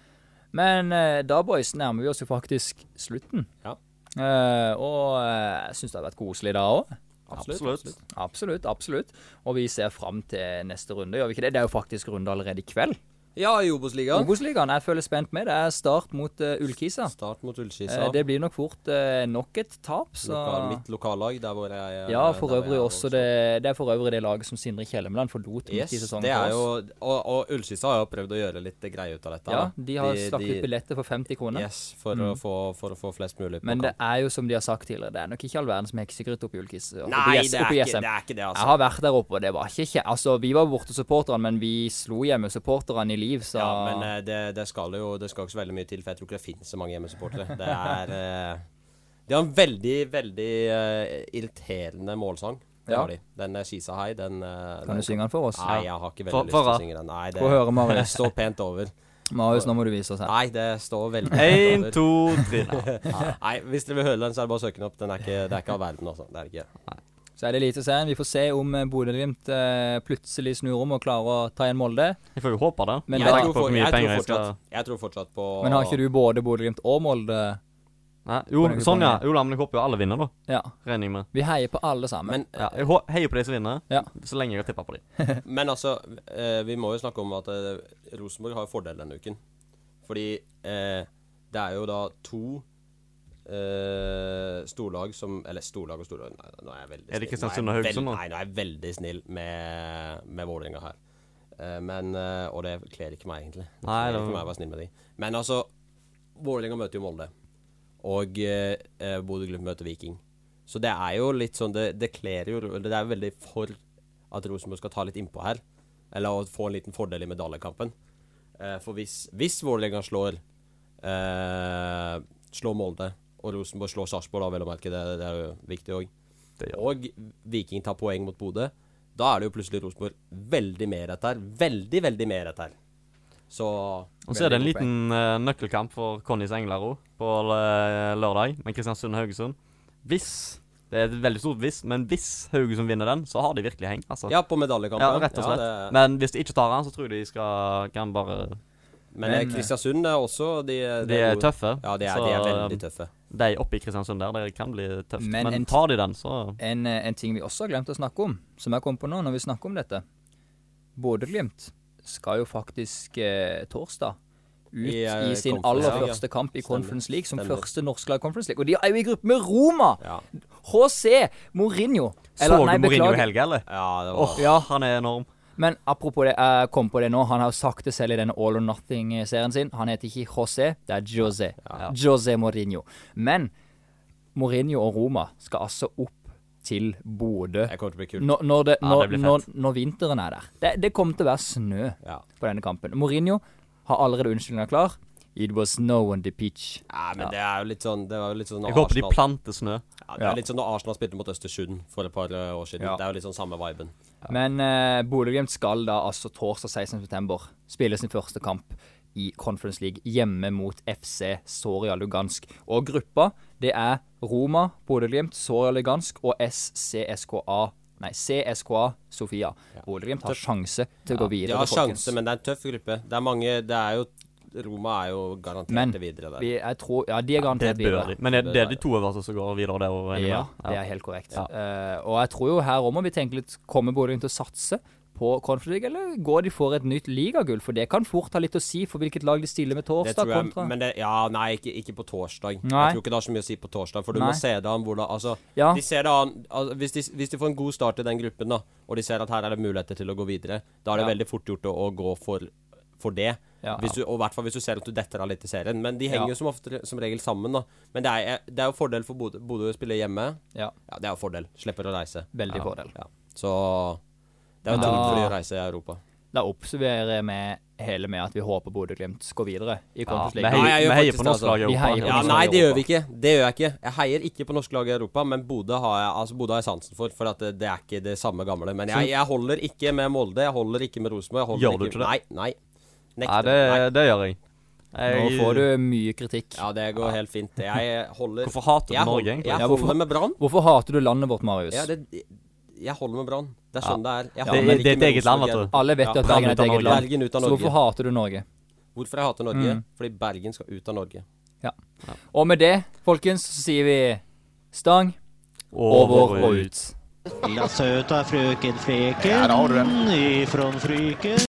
Speaker 4: Men eh, da, boys, nærmer vi oss jo faktisk slutten.
Speaker 5: Ja.
Speaker 4: Eh, og eh, jeg syns det har vært koselig da òg.
Speaker 5: Absolutt, absolutt.
Speaker 4: Absolutt, absolutt. Og vi ser fram til neste runde, gjør vi ikke det? Det er jo faktisk runde allerede i kveld.
Speaker 5: Ja, i Obos-ligaen.
Speaker 4: Obos-ligaen jeg føler spent med. Det er start mot eh, Ullkisa.
Speaker 5: Start mot Ullskisa.
Speaker 4: Eh, det blir nok fort eh, nok et tap, så
Speaker 5: Lokal, mitt lokallag, der hvor jeg er-
Speaker 4: Ja, for
Speaker 5: eh, der hvor jeg
Speaker 4: øvrig
Speaker 5: er
Speaker 4: også
Speaker 5: vokst opp.
Speaker 4: det, det er for øvrig det laget som Sindre Kjellemland forlot midt
Speaker 5: Yes,
Speaker 4: i sesongen.
Speaker 5: det er
Speaker 4: for oss.
Speaker 5: jo, og, og Ullskisa har jo prøvd å gjøre litt greie ut av dette.
Speaker 4: Ja,
Speaker 5: da.
Speaker 4: de har slakket
Speaker 5: de-
Speaker 4: ut billetter for 50 kroner.
Speaker 5: Yes, for, å få, for å få flest mulig på
Speaker 4: mm. Men det
Speaker 5: kamp.
Speaker 4: er jo som de har sagt tidligere, det er nok ikke all verdens med heksegryte oppi Ullkis. oppe i
Speaker 5: Nei,
Speaker 4: S-
Speaker 5: det er,
Speaker 4: oppe i
Speaker 5: ikke,
Speaker 4: SM.
Speaker 5: det er ikke det,
Speaker 4: Jeg
Speaker 5: altså.
Speaker 4: har vært der oppe, og det var ikke kje... Altså, vi var borte supporterne, men vi slo hjemme supporterne i liv, så
Speaker 5: Ja, men eh, det, det skal jo det skal ikke så veldig mye til, for jeg tror ikke det finnes så mange hjemmesupportere. Det er eh, De har en veldig, veldig eh, irriterende målsang. Det
Speaker 4: Ja.
Speaker 5: har de. Den eh, Skisa hei, den eh,
Speaker 4: Kan du synge den for oss?
Speaker 5: Nei, jeg har ikke veldig
Speaker 6: For-
Speaker 5: lyst til å
Speaker 6: for-
Speaker 5: synge den. Nei, det,
Speaker 4: Få høre, Marius.
Speaker 5: står pent over.
Speaker 4: Marius, nå må du vise oss her.
Speaker 5: Nei, det står veldig pent
Speaker 6: Én,
Speaker 5: over.
Speaker 6: to, tre.
Speaker 5: Nei, hvis dere vil høre den, så er det bare å søke den opp. Den er ikke, det er ikke av verden, altså. Det er det ikke.
Speaker 4: Så er det Eliteserien. Vi får se om eh, Bodø-Glimt eh, plutselig snur om og klarer å ta igjen Molde.
Speaker 6: Jeg får jo håpe det.
Speaker 4: Men
Speaker 6: Med
Speaker 4: da-
Speaker 5: Jeg
Speaker 6: tanke
Speaker 5: tror,
Speaker 6: på hvor
Speaker 5: for,
Speaker 6: mye
Speaker 5: jeg,
Speaker 6: penger
Speaker 5: tror
Speaker 6: jeg skal
Speaker 5: fortsatt, jeg tror fortsatt på
Speaker 4: Men har ikke du både Bodø-Glimt og Molde?
Speaker 6: Nei, Jo,
Speaker 4: Hvor mange
Speaker 6: sånn, ja.
Speaker 4: poeng
Speaker 6: Jo, da, men jeg håper jo alle vinner, da.
Speaker 4: Ja.
Speaker 6: Regner jeg med.
Speaker 4: Vi heier på alle sammen.
Speaker 5: Men,
Speaker 6: Ja, jeg hå- heier på de som vinner,
Speaker 4: Ja.
Speaker 6: så lenge jeg har tippa på de.
Speaker 5: men altså, eh, vi må jo snakke om at eh, Rosenborg har jo fordel denne uken. Fordi eh, det er jo da to eh, storlag som Eller storlag og storlag Nei, nå er jeg veldig
Speaker 6: Er det
Speaker 5: snill.
Speaker 6: Kristiansund
Speaker 5: Nå er jeg
Speaker 6: og Haugesund
Speaker 5: veld-
Speaker 6: nå?
Speaker 5: Nei, nå er jeg veldig snill med, med Vålerenga her. Eh, men eh, Og det kler ikke meg, egentlig. Det
Speaker 6: Nei,
Speaker 5: kler
Speaker 6: det
Speaker 5: ikke
Speaker 6: var-
Speaker 5: meg å være snill med de. Men altså, Vålerenga møter jo Molde. Og eh, eh, Bodø-Glimt møter Viking. Så det er jo litt sånn Det, det kler jo eller Det er jo veldig for at Rosenborg skal ta litt innpå her. Eller å få en liten fordel i medaljekampen. Eh, for hvis, hvis Vålerenga slår eh, Slår Molde, og Rosenborg slår Sarpsborg, da, vel å merke, det, det er jo viktig òg. Og Viking tar poeng mot Bodø. Da er det jo plutselig Rosenborg veldig med rett her. Veldig, veldig med rett her. Så
Speaker 6: Og så er det en
Speaker 4: Veldig god
Speaker 6: liten eh, nøkkelkamp for Connys Englaro på eh, lørdag med Kristiansund og Haugesund. Hvis Det er et veldig stort hvis, men hvis Haugesund vinner den, så har de virkelig heng. altså.
Speaker 5: Ja, på medaljekampen.
Speaker 6: Ja, rett og slett.
Speaker 5: det-
Speaker 6: Men hvis de ikke tar den, så tror jeg de skal, kan bare
Speaker 5: men eh, Kristiansund er også De, de
Speaker 6: De er
Speaker 5: gode.
Speaker 6: tøffe.
Speaker 5: Ja, de er,
Speaker 6: så um,
Speaker 5: de er veldig tøffe.
Speaker 6: de oppe i Kristiansund der, det kan bli tøft.
Speaker 4: Men
Speaker 6: Men,
Speaker 4: en-
Speaker 6: tar de den, så
Speaker 4: En, eh, en ting vi også har glemt å snakke om, som jeg kom på nå når vi snakker om dette. Bodø-Glimt skal jo faktisk eh, torsdag ut
Speaker 5: I,
Speaker 4: i,
Speaker 5: eh,
Speaker 4: sin
Speaker 5: Conference
Speaker 4: aller
Speaker 5: League, ja.
Speaker 4: første kamp i
Speaker 5: Stemmer.
Speaker 4: Conference League, som
Speaker 5: Stemmer.
Speaker 4: første norske lag i Conference League. Og de er jo i gruppe med Roma!
Speaker 5: Ja.
Speaker 4: HC Mourinho. Eller,
Speaker 6: Så
Speaker 4: nei,
Speaker 6: du Mourinho i
Speaker 4: beklager.
Speaker 6: helga, eller?
Speaker 5: ja, det var
Speaker 6: Åh, han er enorm.
Speaker 4: Men apropos det, jeg kom på det nå. Han har jo sagt det selv i denne All or Nothing-serien sin. Han heter ikke José, det er José. José Mourinho. Men Mourinho og Roma skal altså opp til Bodø
Speaker 5: Jeg kommer til å bli kult.
Speaker 4: når, når, det,
Speaker 6: Ja,
Speaker 4: når,
Speaker 6: det blir
Speaker 4: når,
Speaker 6: fett.
Speaker 4: når vinteren er der. Det, det kommer til å være snø
Speaker 5: Ja.
Speaker 4: på denne kampen. Mourinho har allerede unnskyldninga klar. It was snow on the pitch.
Speaker 5: Nei, men det er jo litt sånn Det var jo litt sånn når
Speaker 6: Jeg håper de
Speaker 5: Arsenal-
Speaker 6: planter snø.
Speaker 5: ja, Det er litt sånn når Arsenal spilte mot Østersund for et par eh, år siden.
Speaker 4: Ja.
Speaker 5: Det er jo litt sånn samme viben.
Speaker 4: Men uh, Bodø-Glimt skal da altså torsdag 16.9. spille sin første kamp i Conference League hjemme mot FC Soria Lugansk. Og gruppa, det er Roma, Bodø-Glimt, Soria Lugansk og SCSKA. Nei, CSKA Sofia. Bodø-Glimt har sjanse til å gå
Speaker 5: De
Speaker 4: videre.
Speaker 5: har
Speaker 4: folkens.
Speaker 5: sjanse, men det er en tøff gruppe. Det er mange Det er jo Roma er jo garantert
Speaker 4: Men
Speaker 5: videre der.
Speaker 4: vi, jeg tror, ja, de er
Speaker 6: Det
Speaker 4: garantert
Speaker 6: bør
Speaker 4: videre.
Speaker 6: de. Men er det er de to øverste som går videre det året? regner jeg
Speaker 4: Ja,
Speaker 6: med?
Speaker 4: det er helt korrekt. Eh, og jeg tror jo her òg må vi tenke litt Kommer Bodø-Glimt til å satse på Conference League, eller går de for et nytt ligagull? For det kan fort ha litt å si for hvilket lag de stiller med
Speaker 5: Det
Speaker 4: torsdag
Speaker 5: tror jeg,
Speaker 4: kontra
Speaker 5: men det, ja, nei, ikke, ikke på torsdag.
Speaker 4: Nei.
Speaker 5: Jeg tror ikke det har så mye å si på torsdag, for du
Speaker 4: Nei.
Speaker 5: må se det an hvordan Altså,
Speaker 4: Ja.
Speaker 5: de ser det an altså, hvis, de, hvis de får en god start i den gruppen, da, og de ser at her er det muligheter til å gå videre, da er det
Speaker 4: Ja.
Speaker 5: veldig fort gjort å, å gå for, for det.
Speaker 4: Ja.
Speaker 5: Hvis du, og i hvert fall hvis du ser at du detter av litt i serien. Men de henger
Speaker 4: Ja.
Speaker 5: jo som, ofte, som regel sammen, da. Men det er, det er jo fordel for Bodø- Bodø å spille hjemme.
Speaker 4: Ja,
Speaker 5: Ja, det er jo fordel. Slipper å reise.
Speaker 4: veldig
Speaker 5: ja.
Speaker 4: fordel.
Speaker 5: Ja. Så det er jo
Speaker 4: Men
Speaker 5: tungt
Speaker 4: da-
Speaker 5: for de å reise i Europa.
Speaker 4: Da oppsummerer vi hele med at vi håper Bodø-Glimt går videre i
Speaker 6: Ja,
Speaker 4: Conference
Speaker 6: vi
Speaker 4: League.
Speaker 5: Nei, jeg
Speaker 6: heier,
Speaker 5: gjør
Speaker 6: vi heier
Speaker 5: faktisk
Speaker 6: på
Speaker 5: det,
Speaker 6: norsk
Speaker 5: altså.
Speaker 6: lag i
Speaker 4: Vi heier
Speaker 6: sånn Europa.
Speaker 4: på
Speaker 5: Ja,
Speaker 4: norsk
Speaker 5: nei,
Speaker 4: lag i
Speaker 5: det gjør
Speaker 4: Europa.
Speaker 5: vi ikke. Det gjør jeg ikke. Jeg heier ikke på norske lag i Europa, men Bodø har jeg, altså Bodø har jeg sansen for. For at det, det er ikke det samme gamle. Men jeg, jeg holder ikke med Molde, jeg holder ikke med Rosenborg. jeg holder
Speaker 6: Gjør du
Speaker 5: ikke-
Speaker 6: ikke det?
Speaker 5: Nei. nei. Nekter.
Speaker 6: Ja, det,
Speaker 5: nei.
Speaker 6: det gjør jeg.
Speaker 4: Nå
Speaker 6: Jeg-
Speaker 4: får du mye kritikk.
Speaker 5: Ja, det går helt fint. Jeg holder
Speaker 6: Hvorfor hater du
Speaker 5: jeg
Speaker 6: Norge,
Speaker 5: holder-
Speaker 6: egentlig?
Speaker 5: Jeg
Speaker 4: Ja, hvorfor-
Speaker 5: holder med Brann.
Speaker 4: Hvorfor hater du landet vårt, Marius?
Speaker 5: Ja, det- jeg holder med Brann. Det er sånn det er. Jeg
Speaker 6: Ja,
Speaker 5: holder
Speaker 6: det- det
Speaker 5: ikke
Speaker 6: er et
Speaker 5: med
Speaker 6: eget land,
Speaker 5: Rosenborg.
Speaker 6: vet du.
Speaker 4: Alle vet jo at
Speaker 6: Bergen
Speaker 4: Bergen er et
Speaker 6: ut av
Speaker 4: eget
Speaker 6: Norge.
Speaker 4: land.
Speaker 5: Bergen ut av
Speaker 4: Så hvorfor
Speaker 5: Norge.
Speaker 4: hater du Norge?
Speaker 5: Hvorfor jeg hater Norge?
Speaker 6: Mm.
Speaker 5: Fordi Bergen skal ut av Norge.
Speaker 4: Og med det, folkens, så sier vi stang
Speaker 6: Over
Speaker 4: over og ut.
Speaker 2: La søta frøken Fleken
Speaker 7: Der har du den.
Speaker 2: ifrån Fryken.